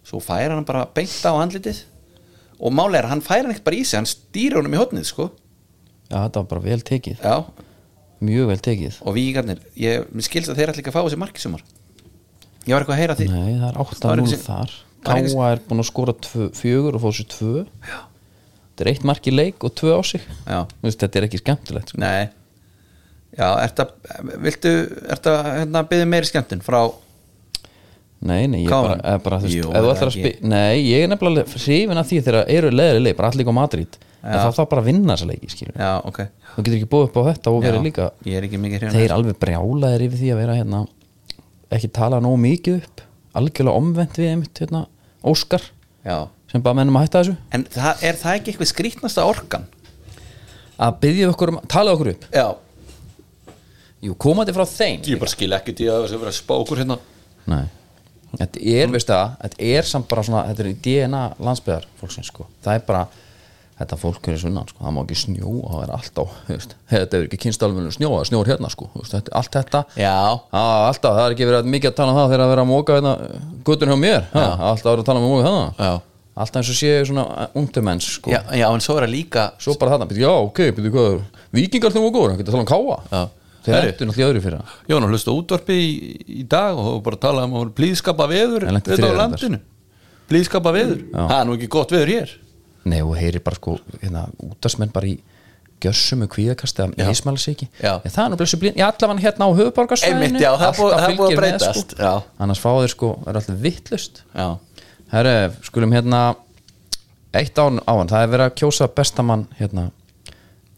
svo færa hann bara beint á andlitið og málega er að hann færa hann ekkert bara í sig hann stýra honum í hotnið sko
já, þetta var bara vel tekið,
já,
mjög vel tekið
og vígarnir, ég mér skilst að þeir allir ekki að fá þessi marki sumar ég var eitthvað að heyra því
nei, það er
Það var
8-0
einhver-
þar
var einhver-
Káa er búin að skora tvö- fjögur og fóðu sér tvö já. þetta er eitt mark í leik og tvö á sig
Já.
Þú veist, þetta er ekki skemmtilegt sko.
Nei Já, ertu að, viltu, ertu að hérna, byggja meiri skemmtun frá
Nei, nei, ég
Káan?
bara, eða bara þú veist,
Jú,
ef þú
það
ætlar að
ekki.
spila Nei, ég er nefnilega hrifin af því þegar eru leðri leik, bara allir á Madrid en
Já.
það þarf bara að vinna þessa leiki, skilur
Já, ok
Þú getur ekki búið upp á þetta og verið
Já,
líka
Ég er ekki mikið hrjóna
Þeir alveg brjálaðir yfir því að vera hérna ekki tala nógu mikið upp algjörlega omvend við einmitt hérna, Óskar,
Já
sem bara mennum að hætta þessu
En það, er það ekki eitthvað skrýtnasta orkan?
að byggja okkur um, tala okkur upp
Já
Jú, komandi frá þeim
Ég bara skil ekki því að þessu verið að spá okkur hérna
Nei Þetta er, veistu það, þetta er samt bara svona þetta er í DNA landsbyðar fólksins sko. það er bara, þetta fólk er í sunnan sko. það má ekki snjóa, það er alltaf þú veist, þetta er ekki kynstalvunum snjóa, það snjór hérna sko. Þú veist, þetta, allt þetta
Já
á, alltaf, það er ekki verið mikið að tala um það þegar að vera að móka hérna, guttun hjá mér ha, alltaf að vera að tala um að móka hérna
Já.
alltaf eins og séu svona ungdumenns sko.
Já, já en svo er það líka
svo bara þarna, býttu, já ok, býttu hvað er- vikingar þegar voru góður, hann getur að tala um
Já.
káa þeir
Herri.
ættu náttúrulega í öðru fyrir það
Ég var nú að hlusta á útvarpi í, í dag og bara tala um að blíðskapa veður
En lenti
Þetta á
þriðja reyndar.
landinu Blíðskapa veður
Já.
Það er nú ekki gott veður hér
Nei og heyri bara sko hérna, útarsmenn bara í gjörsum og kvíðakast eða
Já.
meðismæla sig ekki
Já.
en það er nú blessu blín, já allavega hérna á höfuborgarsvæðinu
Einmitt, já, það er búið- það er búið að breytast,
sko.
já.
annars fá þeir sko, er alltaf vittlust
Já
herru, skulum hérna eitt án á hann, það er verið að kjósa bestamann hérna,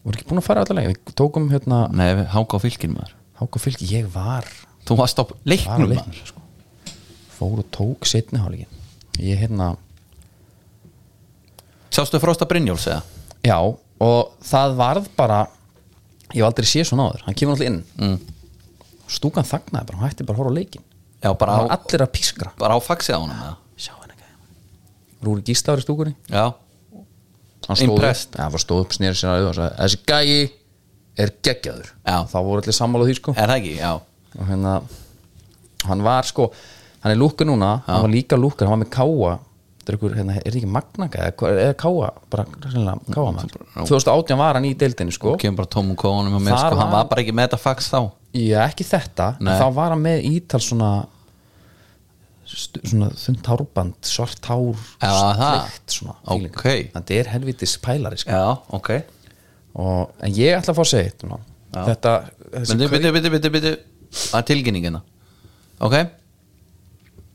voru ekki búin að fara allavega, við tókum hérna
Nei, við hanga á fylgin maður
Háka fylg, ég var
Þú varst á
var
leiknum
að
maður
leiknum sko. fór og tók setni hálfleikin ég hérna
Sástu Frosta Brynjóls eða?
Já, og það varð bara ég hef aldrei séð svona áður, hann kemur alltaf inn mm. stúkan þagnaði bara, hann hætti bara að horfa á leikin
Já, bara
hann var
á,
allir að pískra
bara á faxið á honum eða?
Sjá hann ekki Rúri Gísla var í stúkunni
Já,
hann stóð
Impressed.
upp, ja, hann stóð upp snýri sér að auðvitað og sagði, þessi gæi er geggjaður
Já.
þá voru allir sammála því sko
er það ekki? Já
og hérna, hann var sko hann er lúkur núna, hann var líka lúkur hann var með káa þetta er ykkur, hérna, er þetta ekki magnaka eða, hvað- eða káa, bara hreinlega káa maður 2018 var hann í deildinni sko
kemur bara tómum kóðunum með mér
Þar
sko, hann
var-
var bara ekki með þetta fax þá
Já, ekki þetta, en
Nei.
þá var hann með ítal svona stu- svona þund hárband, svart hár
Já, það.
sleikt svona
Ok.
feeling. þetta er helvitis pælari sko.
já, ok
og, en ég ætla að fá að segja eitt núna. þetta þessi
byrju,
kau-
byrju, byrju, byrju, byrju það er tilkynningina ok,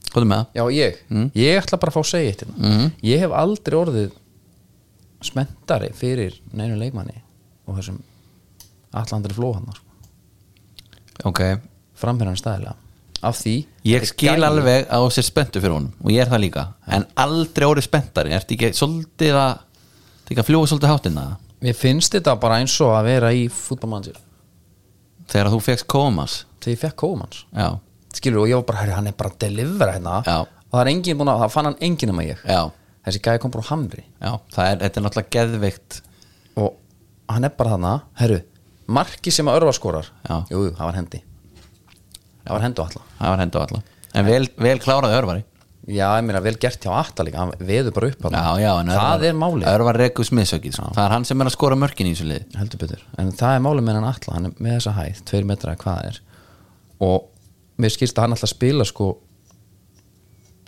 hvað er með það?
já, ég,
Mm.
ég ætla bara að fá að segja eitt mm. ég hef aldrei orðið smentari fyrir neinu leikmanni og þessum allandri flóhannar sko.
ok,
framherran stæðilega af því
ég
þetta er
skil
gæi.
alveg að þú sér spenntu fyrir honum og ég er það líka, en aldrei orðið spenntari ertu ekki svolítið að þetta ekki að fljóða svolítið hérna? hátina
mér finnst þetta bara eins og að vera í fútbolmannsir
þegar þú fegst kómas
þegar ég fekk kóðumanns
já,
skilur og ég var bara, herri, hann er bara að delivera hérna
Já.
og það er engin búin að, það fann hann engin um að ég
já,
þessi gæði kom bara úr hamri
já það er, þetta er náttúrulega geðveikt
og hann er bara þarna, herru marki sem að örfa skorar,
Já.
jú, jú, það var hendi það var hendi á alla
það var hendu alla, en vel, vel kláraði örvari
já, ég meina vel gert hjá alla líka, hann veður bara upp hann
já, já, en
það er málið,
örvar rekus miðsökið, sko. það er hann sem er að skora mörkin í þessu liði
heldur betur en það er málið með hann alla, hann er með þessa hæð tveir metra eða hvað það er og mér skilst að hann alltaf spila sko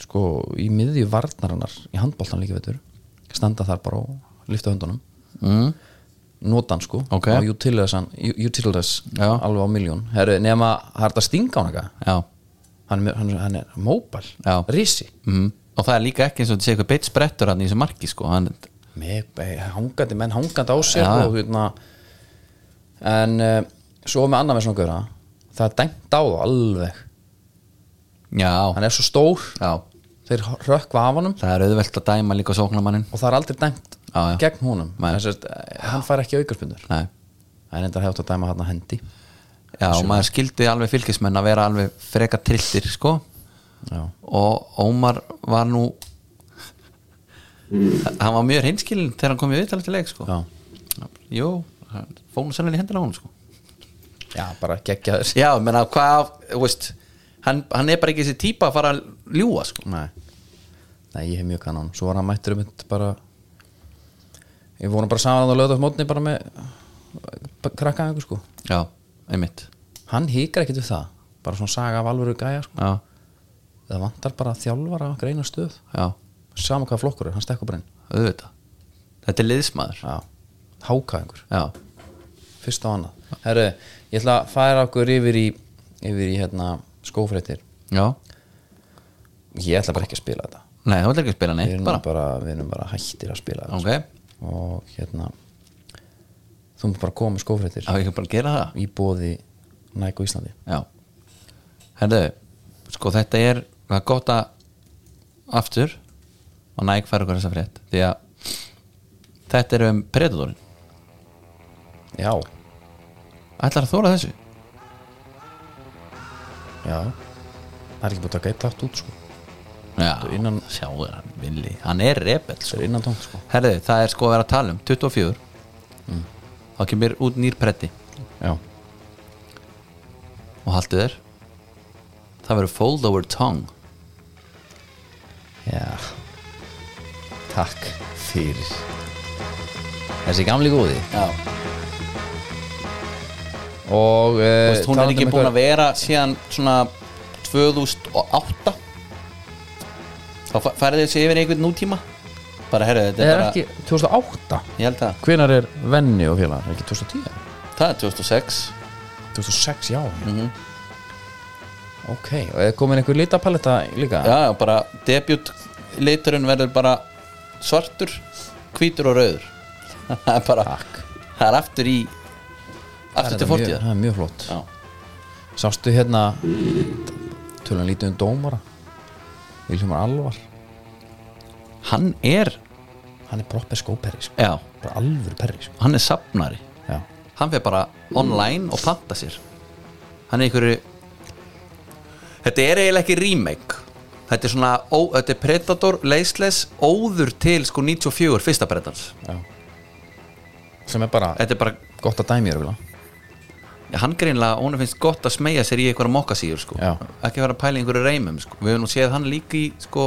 sko í miðju varnarinnar í handbóltan líka veitur standa þar bara og lyfta höndunum
mm.
notan sko
Ok.
á utilities, utilities
Já.
alveg á miljón Heru, nema það er þetta að stinga á hann eitthvað
já,
hann, er með- hann, hann er móbal,
Já.
risi
mm. og það er líka ekki eins og þetta sé eitthvað beitt sprettur hann í þessu marki sko. hann,
með eh, hangandi menn hangandi á sér
Já, já.
og hérna en uh, svo með annað með svona gauðra það er dæmt á það alveg
já,
hann er svo stór
já,
þeir rökkva af honum
Það er auðvelt að dæma líka sóknarmannin
og það er aldrei dæmt
Já, já.
gegn honum
Nei.
Þess að, eh, hann fær ekki aukarspundur
Nei.
það er enda hægt að dæma hann að hendi
Já, og maður skildi alveg fylgismenn að vera alveg freka trilltir sko
já,
og Ómar var nú hann var mjög hinskilin þegar hann kom í viðtalið til leik sko
já,
Jú, hann fór nú sennilega í hendina á hann sko
já bara geggjaður
Já, menna hvað, þú veist hann, hann er bara ekki þessi típa að fara að ljúga sko
nei. nei, ég hef mjög kannan svo var hann mættur um þetta bara ég voru bara saman að lögða upp mótni bara með bara krakkaði einhver sko
Já, einmitt
hann hikar ekkert við það bara svona saga af alvöru gæja sko.
Já,
það vantar bara þjálfara á okkur eina stöð
já,
sama hvað flokkur er, hann stekkur bara inn
auðvitað Þetta er liðsmaður
já. háka einhver,
Já,
fyrst á annað herru, ég ætla að færa okkur yfir í yfir í hérna skófréttir
já
ég ætla bara ekki að spila þetta
Nei, þú ætlar ekki að spila
við
neitt
erum bara,
bara
við erum bara hættir að spila þetta
Ok, á
sko. og hérna þú mútt bara koma með skófréttir
ekki bara að gera það
í bóði Nike á Íslandi
Já Herðu, sko þetta er það er gott að aftur og næg færa okkur þessa frétt því að þetta er um predatorin
já,
Ætlar að þóra þessu?
já það er ekki búin að taka eitt takt út sko
Já,
innan-
sjáðu hann villi Hann er rebel
það
sko.
er innan tónk sko
Herðu, það er sko að vera að tala um 24 Mm. þá kemur út nýr preddi
já,
og haldið þér það verður fold over tongue
Já Takk fyrir Þessi gamli góði
Já,
Og uh,
Veist, hún er ekki búin að vera síðan svona 2008 þá fa- færði þessi yfir í einhvern nútíma bara herru, þetta er,
Er
bara
ekki 2008
ég held að
Hvenar er venni og félagar? Er Ekki 2010?
það er 2006
2006, já Mhm. Ok, og er komin einhver litapaletta líka?
já, já, bara debut liturinn verður bara svartur hvítur og rauður það er bara
Takk.
það er aftur í
Það er
aftur til
mjög-
fortíðar
Það er mjög flott
já,
Sástu hérna Tölum lítið um dómara Vilhjumar Alvar
hann er
Hann er proper skóperri sko.
já,
Bara alvöru perri sko.
hann er safnari
Já
hann fyrir bara online og panta sér hann er einhverju þetta er eiginlega ekki remake þetta er svona ó, þetta er Predator, Leisles óður til sko 94 fyrsta Predators
Sem er bara
þetta er bara,
gott að dæmi eru
hann greinlega hún finnst gott að smeyja sér í einhverja mokkasýr sko.
Já.
ekki vera að pæla í einhverju reymum sko. við höfum nú séð hann líka í sko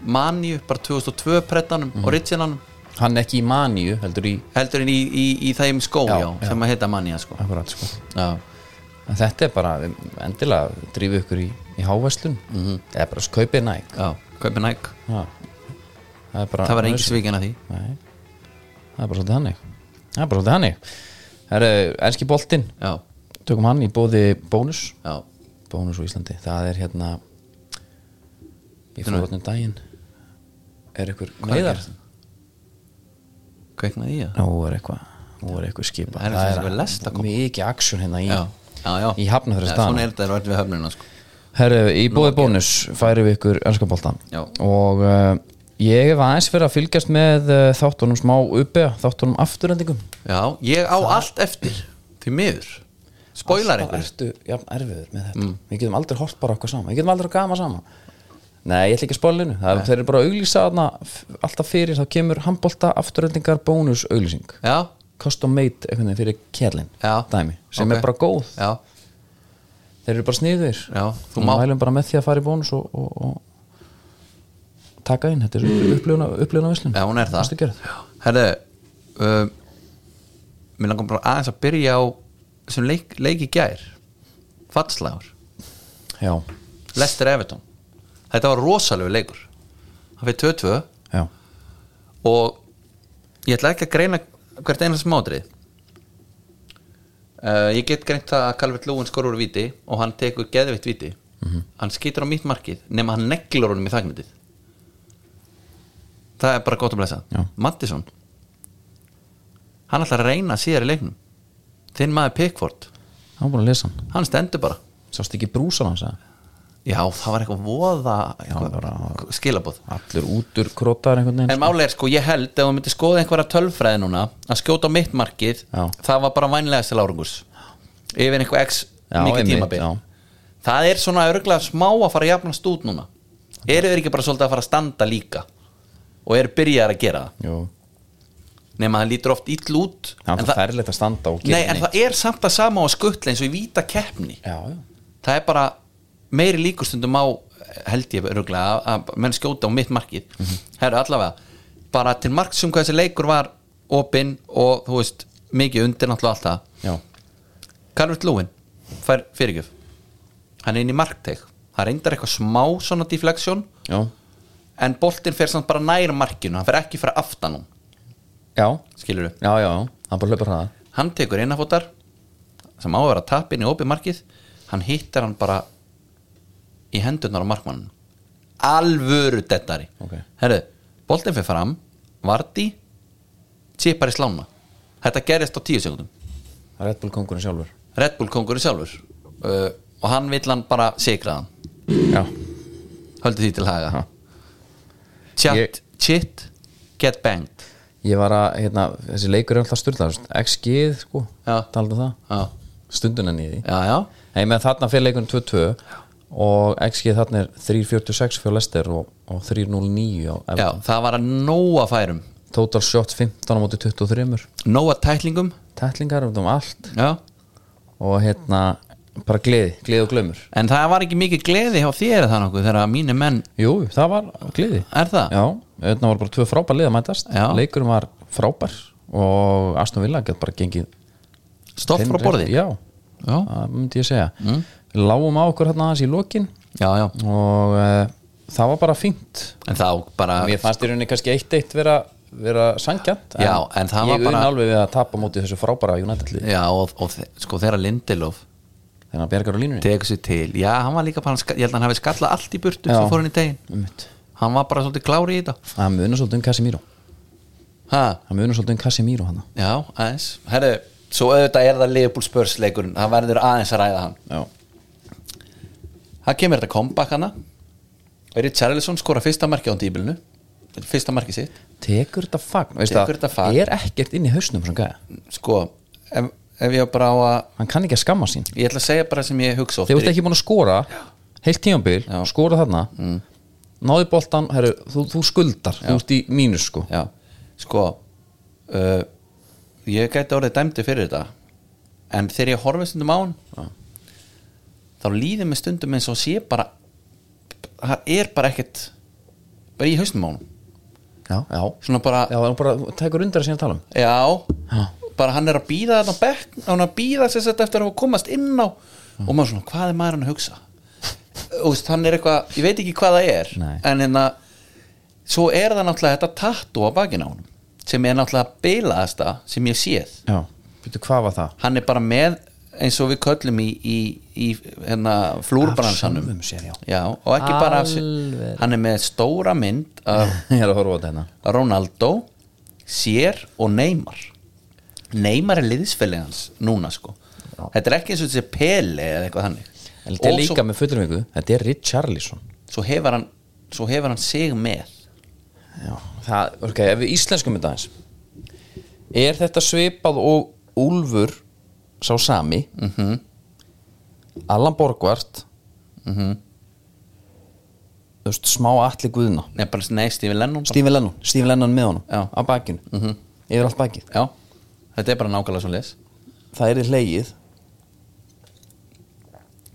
Maníu, bara 2002 Predatanum,
Mhm.
mm. originalanum
Hann er ekki í maníu, heldur í
heldur en í, í, í þeim skó já,
Já,
sem að heita Manía sko.
Akkurat, sko.
já,
En þetta er bara, við endilega drífið ykkur í, í hávæslun -hmm. eða bara skaupið næk
Mhm. já, kaupin æg
ja. Það er bara
það var engin svikin að því
Nei. Það er bara svolítið hannig Það er bara svolítið hannig Það er enski boltinn,
já,
tökum hann í bóði bónus
já,
Bónus á Íslandi, það er hérna Ég fór þarna um daginn Er ykkur
er
meðar?
að kveiknaði í það
Nú er eitthvað Nú er eitthvað skipa
Það er eins og þessi lest að koma.
mikið aksjón hérna í
já, já, já
Í Hafnarfjarðarstaðana.
Já, svona er þetta rætt við höfnuna sko.
Herru, í bóði bónus færi við ykkur önskaboltan
Já.
og uh, ég hef aðeins fyrir að fylgjast með uh, þáttunum smá uppi þáttunum afturendingum
já, ég á allt eftir því miður, spoilar
Alltaf
einhver
Sko,
Mm.
ertu jafn erfiður með þetta Við getum aldrei hort bara okkar saman Við getum aldrei gama saman Nei, ég ætla ekki að spólinu er, Þeir eru bara að auglýsa þarna f- alltaf fyrir þá kemur handbolta afturendingar bónus auglýsing
já,
Custom made einhvern veginn fyrir kjærlin
Já.
dæmi sem
Ok.
er bara góð
já,
Þeir eru bara sniður
já, þú
Við
má
mælum bara með því að fara í bónus og, og, og taka inn þetta er upplifuna, upplifuna visslun
já, hún er það
það
herðu um, mér langar bara aðeins að byrja á sem leik, leik í gær fatslægur,
já,
Lester Everton þetta var rosalegu leikur hann fyrir 2-2
já,
og ég ætla ekki að greina hvert einhvers mádrið uh, ég get greint það að Calvert Lúin skorur úr viti og hann tekur geðvitt viti
Mhm.
hann skýtur á mitt markið nema hann neglur honum í þagnitið það er bara gott að blessa
Já.
Mattisson hann ætlar að reyna síðar í leiknum þinn maður Pickford,
hann var búin að lesa hann
hann stendur bara
sást ekki brúsan hans eða?
Já, það var eitthvað voða
það var að-
eitthvað, skilabóð
Allur útur krótar einhvern
En
veginn
máli er sko, ég held ef þú myndir skoða einhverja tölfræði núna að skjóta á mitt markið
Já.
það var bara vænlega til árangurs yfir einhver x
Já,
mikið
einmitt,
tímabil
já.
Það er svona örgulega smá að fara að jafnast út núna eru þeir ekki bara svolítið að fara að standa líka og eru byrjar að gera það
Jú,
nema að það lítur oft ill út
Já,
en
það er ferlegt að standa og gera
nei, en
neitt.
það er samt að sama á að skuttla eins og í víta keppni
Já, já
það er bara meiri líkustundum á held ég öruglega að menn skjóta á mitt markið mm herru allavega, bara til marks um hvað þessi leikur var opinn og þú veist, mikið undir náttúrulega allt það
Já,
Calvert Lúin fær fyrirgjöf hann er inn í markteg, það reyndar eitthvað smá svona deflection
já,
en boltinn fer samt bara nær markinu hann fer ekki frá aftanum,
já,
skilur við
já, já. Hann bara hlaupar hraða
hann tekur innafótar sem á að vera tap inn í opið markið hann hittar hann bara í hendurnar á markmann alvöru dettari
Ok.
herru, boltinn fyrir fram Vardí tippar í slána þetta gerist á tíu sekundum
Red Bull kongurinn sjálfur
Red Bull kongurinn sjálfur uh, og hann vill hann bara sigra hann
Já,
höldu því til haga
Ha.
chat,
Ég-
chit, get banged
ég var að, hérna, þessi leikur er alltaf styrla XG, sko,
Já.
talaðu um það
já,
Stundunan í því
já, já,
Nei, með þarna fyrir leikurinn 2-2 og XG þarna er 3.46 fyrir Lester og, og 3.09 á
já
Everton.
það var að nóa færum
Total shot 15 á móti 23
nóa tæklingum
Tætlingar um allt
já
og hérna, bara gleði, gleði og glömmur
En það var ekki mikið gleði hjá þér það nokkuð þegar að mínu menn
Jú, það var gleði
er það
Já, þetta voru bara tvö frábær lið að mætast
Já.
Leikurinn var frábær og Aston Villa gett bara gengið
Stoff frá
hreinrétt-
borði
Já,
Já,
það myndi ég segja mm. Láum á okkur hérna aðeins í lokin
já, já.
og uh, það var bara fínt
En þá bara
Mér fannst í rauninni kannski eitt eitt vera, vera sangjant
Já, en það var
Ég
bara-
unn alveg við að tapa móti þessu frábæra United lið
Já, og, og þe- sko þegar Lindelof
Þannig að bjargar á línunni
tekur sér til Já, hann var líka bara, ég held að hann hafi skallað allt í burtu
Já.
sem fór hann í tegin
Einmitt.
Hann var bara svolítið klári í þetta
Það munar svolítið um Casemiro
ha,
Það munar svolítið um Casemiro hana
Já, aðeins Herru, svo auðvitað er það Leopold spörsleikurinn Það verður aðeins að ræða hann
Já,
Það kemur þetta comeback hana Richarlison skora fyrsta marki á tíbilinu Fyrsta marki sitt
tekur þetta fagn veist
Tekur
að
þetta fagn.
Er ekkert inn í hausnum sem gæja
Sko, ef, ef ég bara á að
Hann kann ekki að skamma sín
ég ætla að segja bara sem ég hugsa oft
Þegar þú ert ekki búin að skora heilt tímabil,
Já. Mm.
skora þarna náði boltan, herru, þú, þú skuldar þú ert í mínus sko
já, sko uh, ég gæti orðið dæmdi fyrir þetta en þegar ég horfið stundum á hann þá líður mér stundum eins og sé bara það er bara ekkert bara í hausnum á hann
Já, já,
svona bara,
já hann bara tekur undir að sína að tala um
já, bara hann er að býða þarna á bekk, hann er að býða sér sett eftir að hafa komast inn á og maður svona, hvað er maður hann að hugsa og veist, hann er eitthvað, ég veit ekki hvað það er
Nei.
en hérna svo er það náttúrulega þetta tattu á bakinn á hann sem er náttúrulega bilaðasta sem ég séð
Já, býttu hvað var það?
hann er bara með eins og við köllum í, í, í hérna, flúrbransanum
sjálfum sér, já.
og ekki bara af, sér-
Alveg.
hann er með stóra mynd af
Ég er að horfa á þetta hérna
Ronaldo Sér og Neymar Neymar er liðsfélagi hans núna sko þetta er ekki eins og þessi peli eða eitthvað þannig
En Þetta er
Og
líka
svo,
með fullurvingu, þetta er Richarlison
svo, hefur hann, svo hefur hann sig með
Já, það, ok, ef við íslenskum þetta aðeins Er þetta svipað og Úlfur sá sami -hmm. Allan Borgvart Mhm. Þú veist, smá allir guðna
Nei, bara neist yfir lennum bara.
Stífin Lennon, Stífin Lennon með honum
Já.
á bakinu, -hmm. yfir allt bakið
Já, þetta er bara nákvæmlega svo les
Það er þið hlegið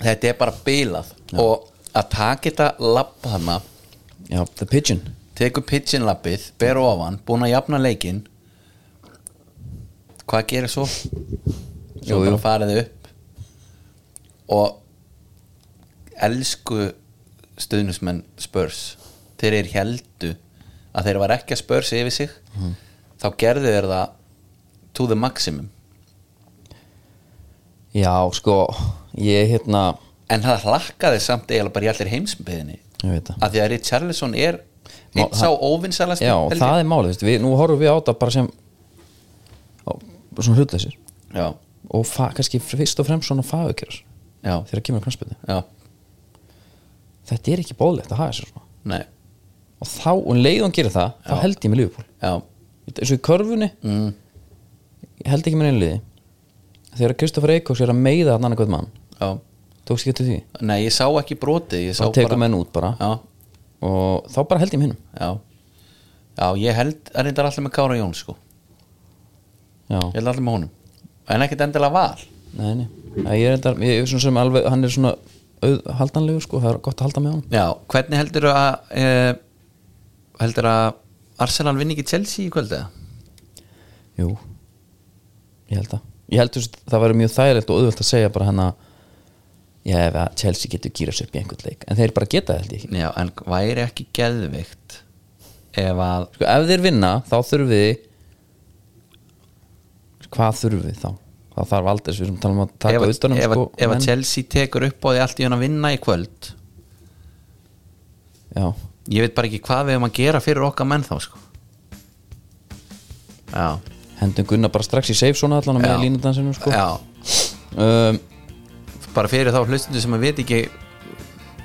Þetta er bara bilað og að taka þetta lapp hana
Já, The Pigeon
tekur pitchin lappið, ber ofan búin að jafna leikinn hvað gerir svo? svo
Jú, jú.
bara farið upp og elsku stuðnismenn spörs þeir eru heldu að þeir var ekki að spörs yfir sig
Mhm.
þá gerðu þeir það to the maximum
Já, sko, ég hérna
en það hlakkaði samt eiginlega bara í allir heimsbyðinni
Ég veit það
að því að Richarlison er
Má-
einn sá óvinnsalast
Já, og það er málið, veist, við, nú horfum við á þetta bara sem á, svona hlutleysir
já,
og fa, kannski fyrst og fremst svona fagökjur
já,
þegar kemur knarsbyrni
já
þetta er ekki bóðlegt að hafa sér svona
Nei,
og þá, og leið og hann gerir það þá held ég með Liverpool
já,
eins og í körfunni mm. ég held ekki með einu liði þegar Kristoffer Eikóks er að meiða hann annað mann
já
tókst ekki til því
Nei, ég sá ekki brotið Ég sá
þá tekur
bara
menn út bara
Já,
og þá bara held ég með hinnum
já Já, ég held að reyndar allir með Kára Jón sko Ég
já,
held allir með honum En ekkert endilega val
nei, nei Æ, ég er þetta, ég er svona sem alveg hann er svona auð, haldanlegu sko, það er gott að halda með hann
Já, hvernig heldur að e, heldur að Arsenal vinni ekki Chelsea í kvöldu?
jú, ég held það ég held þess að það væri mjög þægilegt og auðvöld að segja bara hann að já, ef að Chelsea getur gýrað sér upp í einhvern leik en þeir bara geta það held ég ekki
Já, en væri ekki geðvikt ef að
sko, ef þeir vinna þá þurfum við hvað þurfum við þá það þarf aldrei við erum talað um að
ef,
taka
að-
utanum
ef,
sko,
sko, ef að
menn.
Chelsea tekur upp á því allt í hann að vinna í kvöld
já,
ég veit bara ekki hvað við hefum að gera fyrir okkar menn þá sko Já,
hendum Gunnar bara strax í safe svona allan og
Já.
með línudansinu sko.
já
um,
Ehm, bara fyrir þá hlustundu sem að veit ekki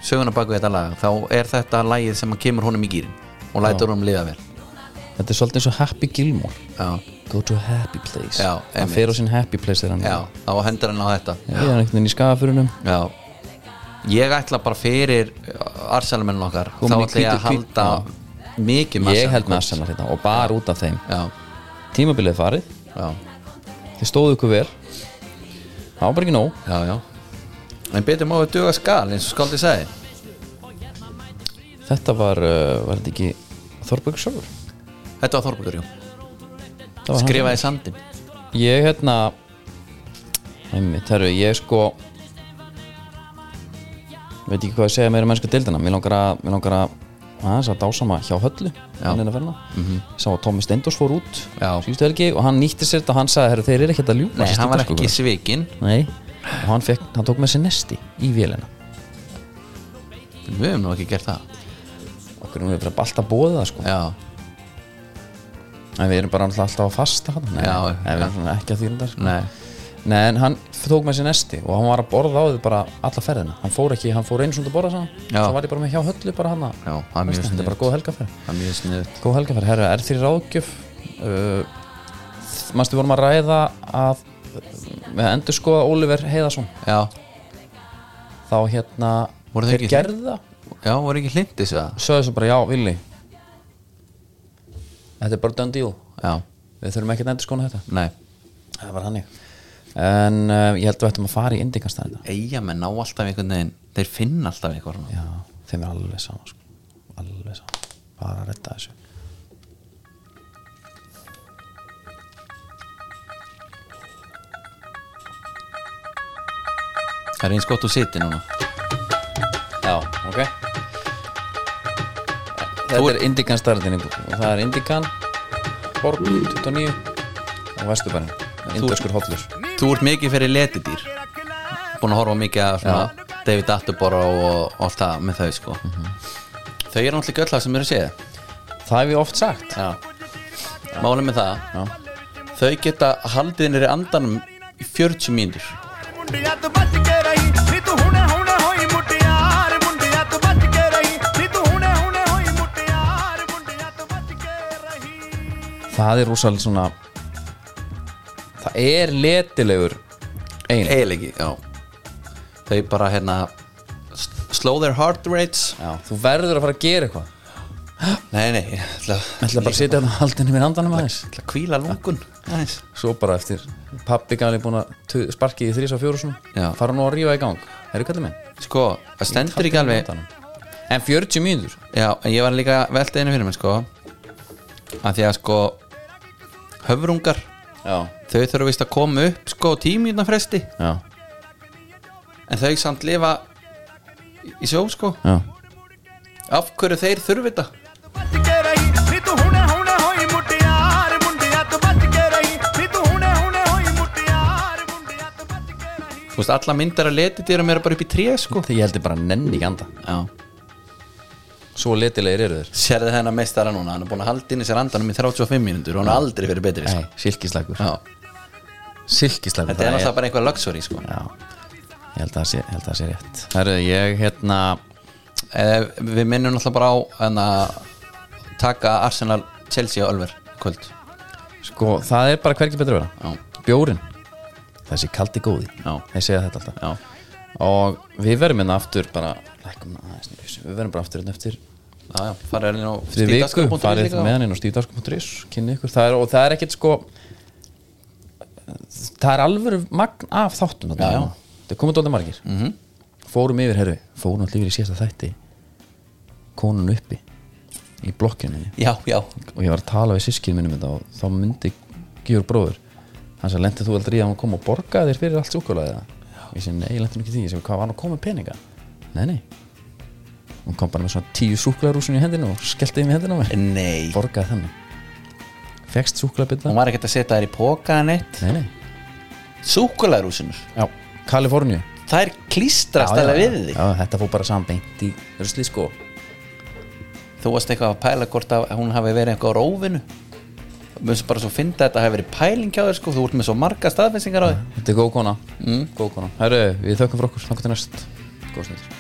söguna baku þetta lag þá er þetta lagið sem að kemur honum í gýrin og lætur honum liða vel
þetta er svolítið eins og Happy Gilmore
Já,
go to a happy place
Já,
hann
einmitt.
fer á sinn happy place þegar hann
já, þá hendur hann á þetta
ég er einhvern veginn í skafurunum
Já Ég ætla bara fyrir Arsenalmennin okkar
Komin
þá
í
ætla ég að
hvítu- hvítu-
halda mikið með
ég held með
Arsenal
Arsenal hérna og bara út af þeim
Já,
tímabilið er farið,
já,
þeir stóðu ykkur vel það var bara ekki nóg
já, já En betur má við duga skal eins og skáldið sagði
þetta var, uh, var þetta ekki Þorbergur sjálfur
Þetta var Þorbukur, jú
Það var hann.
Skrifaði sandin
Ég hérna einmitt, herru, ég sko veit ekki hvað að segja meira um mennska dildina mér langar að, mér langar að aðeins að dásama hjá höllu hann er að verna mm -hmm. sá að Tommy Steindors fór út
Mhm. Já.
síðustu helgi og hann nýtti sér þetta og hann sagði herru, þeir eru ekkert að ljúka
Nei,
þessi
hann var ekki
Steindórsskókur."
svikin
Nei, og hann, fekk, hann tók með sér nesti í vélina
Við höfum nú ekki gert það
okkur erum við bara alltaf bóðið það sko
Já,
en við erum bara alltaf að fasta hann nei,
Já,
nei, við erum svona ekki að þýrindar sko.
nei
Nei, en hann tók með sér nesti og hann var að borða á því bara alla ferðina hann fór ekki, hann fór einu svona að borða saman
Já.
svo var ég bara með hjá höllu bara hann
Já, það er mjög
þetta er bara
sniðugt.
góð helgaferð
Það er mjög sniðut
góð helgaferð, herru, er því ráðgjöf uh, mannstu vorum að ræða að með að endur skoða Oliver Heiðarsson
Já,
þá hérna,
Voru þeir ekki í því?
gerðu það
já, voru ekki hlindis við það
sögðu svo bara, já, villi þetta er bara done deal
Já,
við þurfum ekki að endur skoða þetta
nei
það var hannig en uh, ég held að við ættum að fara í indikastæðina
Eyja menn ná alltaf einhvern veginn Þeir finna alltaf einhvern
Já, þeim er alveg sama sko. Alveg sama Bara að redda þessu
Það er eins gott úr siti núna
Já, ok Þetta er Indikan starðin og það er Indikan Borg 29 og Vesturbærin Indaskur hollur
Þú ert mikið fyrir letidýr Búin að horfa mikið að svona, David Attenborough og allt það með þau sko. Þau eru náttúrulega ekki öll það sem eru séð
Það hef ég oft sagt
Já. Málið með það Þau geta haldið nýri andanum í 40 mínútur
ਮੁੰਡਿਆ ਤੂੰ ਬਚ ਕੇ ਰਹੀ ਨੀ ਤੂੰ ਹੁਣੇ ਹੁਣੇ ਹੋਈ ਮੁਟਿਆਰ ਮੁੰਡਿਆ ਤੂੰ ਬਚ ਕੇ ਰਹੀ ਨੀ ਤੂੰ ਹੁਣੇ ਹੁਣੇ ਹੋਈ ਮੁਟਿਆਰ ਮੁੰਡਿਆ ਤੂੰ ਬਚ ਕੇ ਰਹੀ
Það er rúsal svona Það er letilegur Egin
Eilegi, já Þau bara hérna s- Slow their heart rates
Já, þú verður að fara að gera eitthvað
Nei, nei, ég ætla,
Ég ætla bara að sitja þetta haldinu mér andanum aðeins
ætla að kvíla lungun Aðeins.
Svo bara eftir Pappi gali búin að tu- sparki í þrís og fjóru svona
Já.
Fara nú að rífa í gang Herru kallið minn
Sko, það stendur ekki alveg
En 40 mínútur
Já, en ég var líka veltið einu fyrir mér sko að því að sko höfrungar,
Já,
þau þurfa vist að koma upp sko tímjúna fresti
já,
en þau samt lifa í- í sjó sko
já
af hverju þeir þurfi þetta
ਬਚ ਕੇ ਰਹੀ ਨੀ ਤੂੰ ਹੁਣੇ ਹੁਣੇ ਹੋਈ ਮੁਟਿਆਰ ਮੁੰਡਿਆ ਤੂੰ ਬਚ ਕੇ ਰਹੀ ਨੀ ਤੂੰ ਹੁਣੇ ਹੁਣੇ ਹੋਈ ਮੁਟਿਆਰ ਮੁੰਡਿਆ ਤੂੰ ਬਚ ਕੇ ਰਹੀ
Þú veist, alla myndar að leti dýrum eru bara upp í tré sko
Þegar ég heldur bara nenni ekki anda
Já,
Svo letilegir eru þeir
sérðu þennan meistara núna hann er búin að halda inn í sér andanum í 35 mínútur og hann er aldrei fyrir betri sko.
silkislagur
Já,
Silkislagur
þetta er
það
náttúrulega bara einhver luxury sko
Já, ég held að það sé, ég held að það sé rétt Herru, ég hérna
eh, Við minnum náttúrulega bara á en að taka Arsenal Chelsea og Ölver í kvöld
Sko, það er bara hvergi betur að vera
Já,
Bjórin, þessi kaldi góði
Já.
Ég segja þetta alltaf
já,
Og við verðum hérna aftur bara lækum aðeins niður í þessu. Við verðum bara aftur hérna eftir
já, já farið inn á
Fyrir viku,
stífdagskrá.is
farið
líka
með hann inn á stíðdagskum.is Kynni ykkur, það er, og það er ekkert sko Það er alvöru magn af þáttum
Já, Mhm. já.
Það komið dóttir margir mm -hmm. Fórum yfir, herru, fórum allir yfir í síðasta þætti Konun uppi Í blokkinni
Já, já,
og ég var að tala við sískinn minnum þetta og þá myndi Gjör bróður hann sagði, lendið þú aldrei í að hann kom og borgaði þér fyrir allt súkulega og ég segi, nei, ég lendið nú ekki í því ég segi, hvað var hann að koma með peninga? Nei, nei hún kom bara með svona tíu súkularúsun í hendinu og skellti þeim í hendinu á mig
nei
borgaði þannig fegst súkulabita
Hún var ekkert að setja þær í póka neitt
nei, nei,
Súkularúsinur,
já, Kaliforníu
það er klístrast
já,
alveg
já,
við þig
já, þetta fór bara sambeint í rusli sko
Þú varst eitthvað að pæla hvort að hún hafi verið eitthvað á rófinu Mér finnst bara svo fyndi að þetta hafi verið pæling hjá þér sko, þú ert með svo marga staðfessingar á þig
þetta er góð kona, mm. góð kona herru, við þökkum fyrir okkur, þannig til næst góð snittur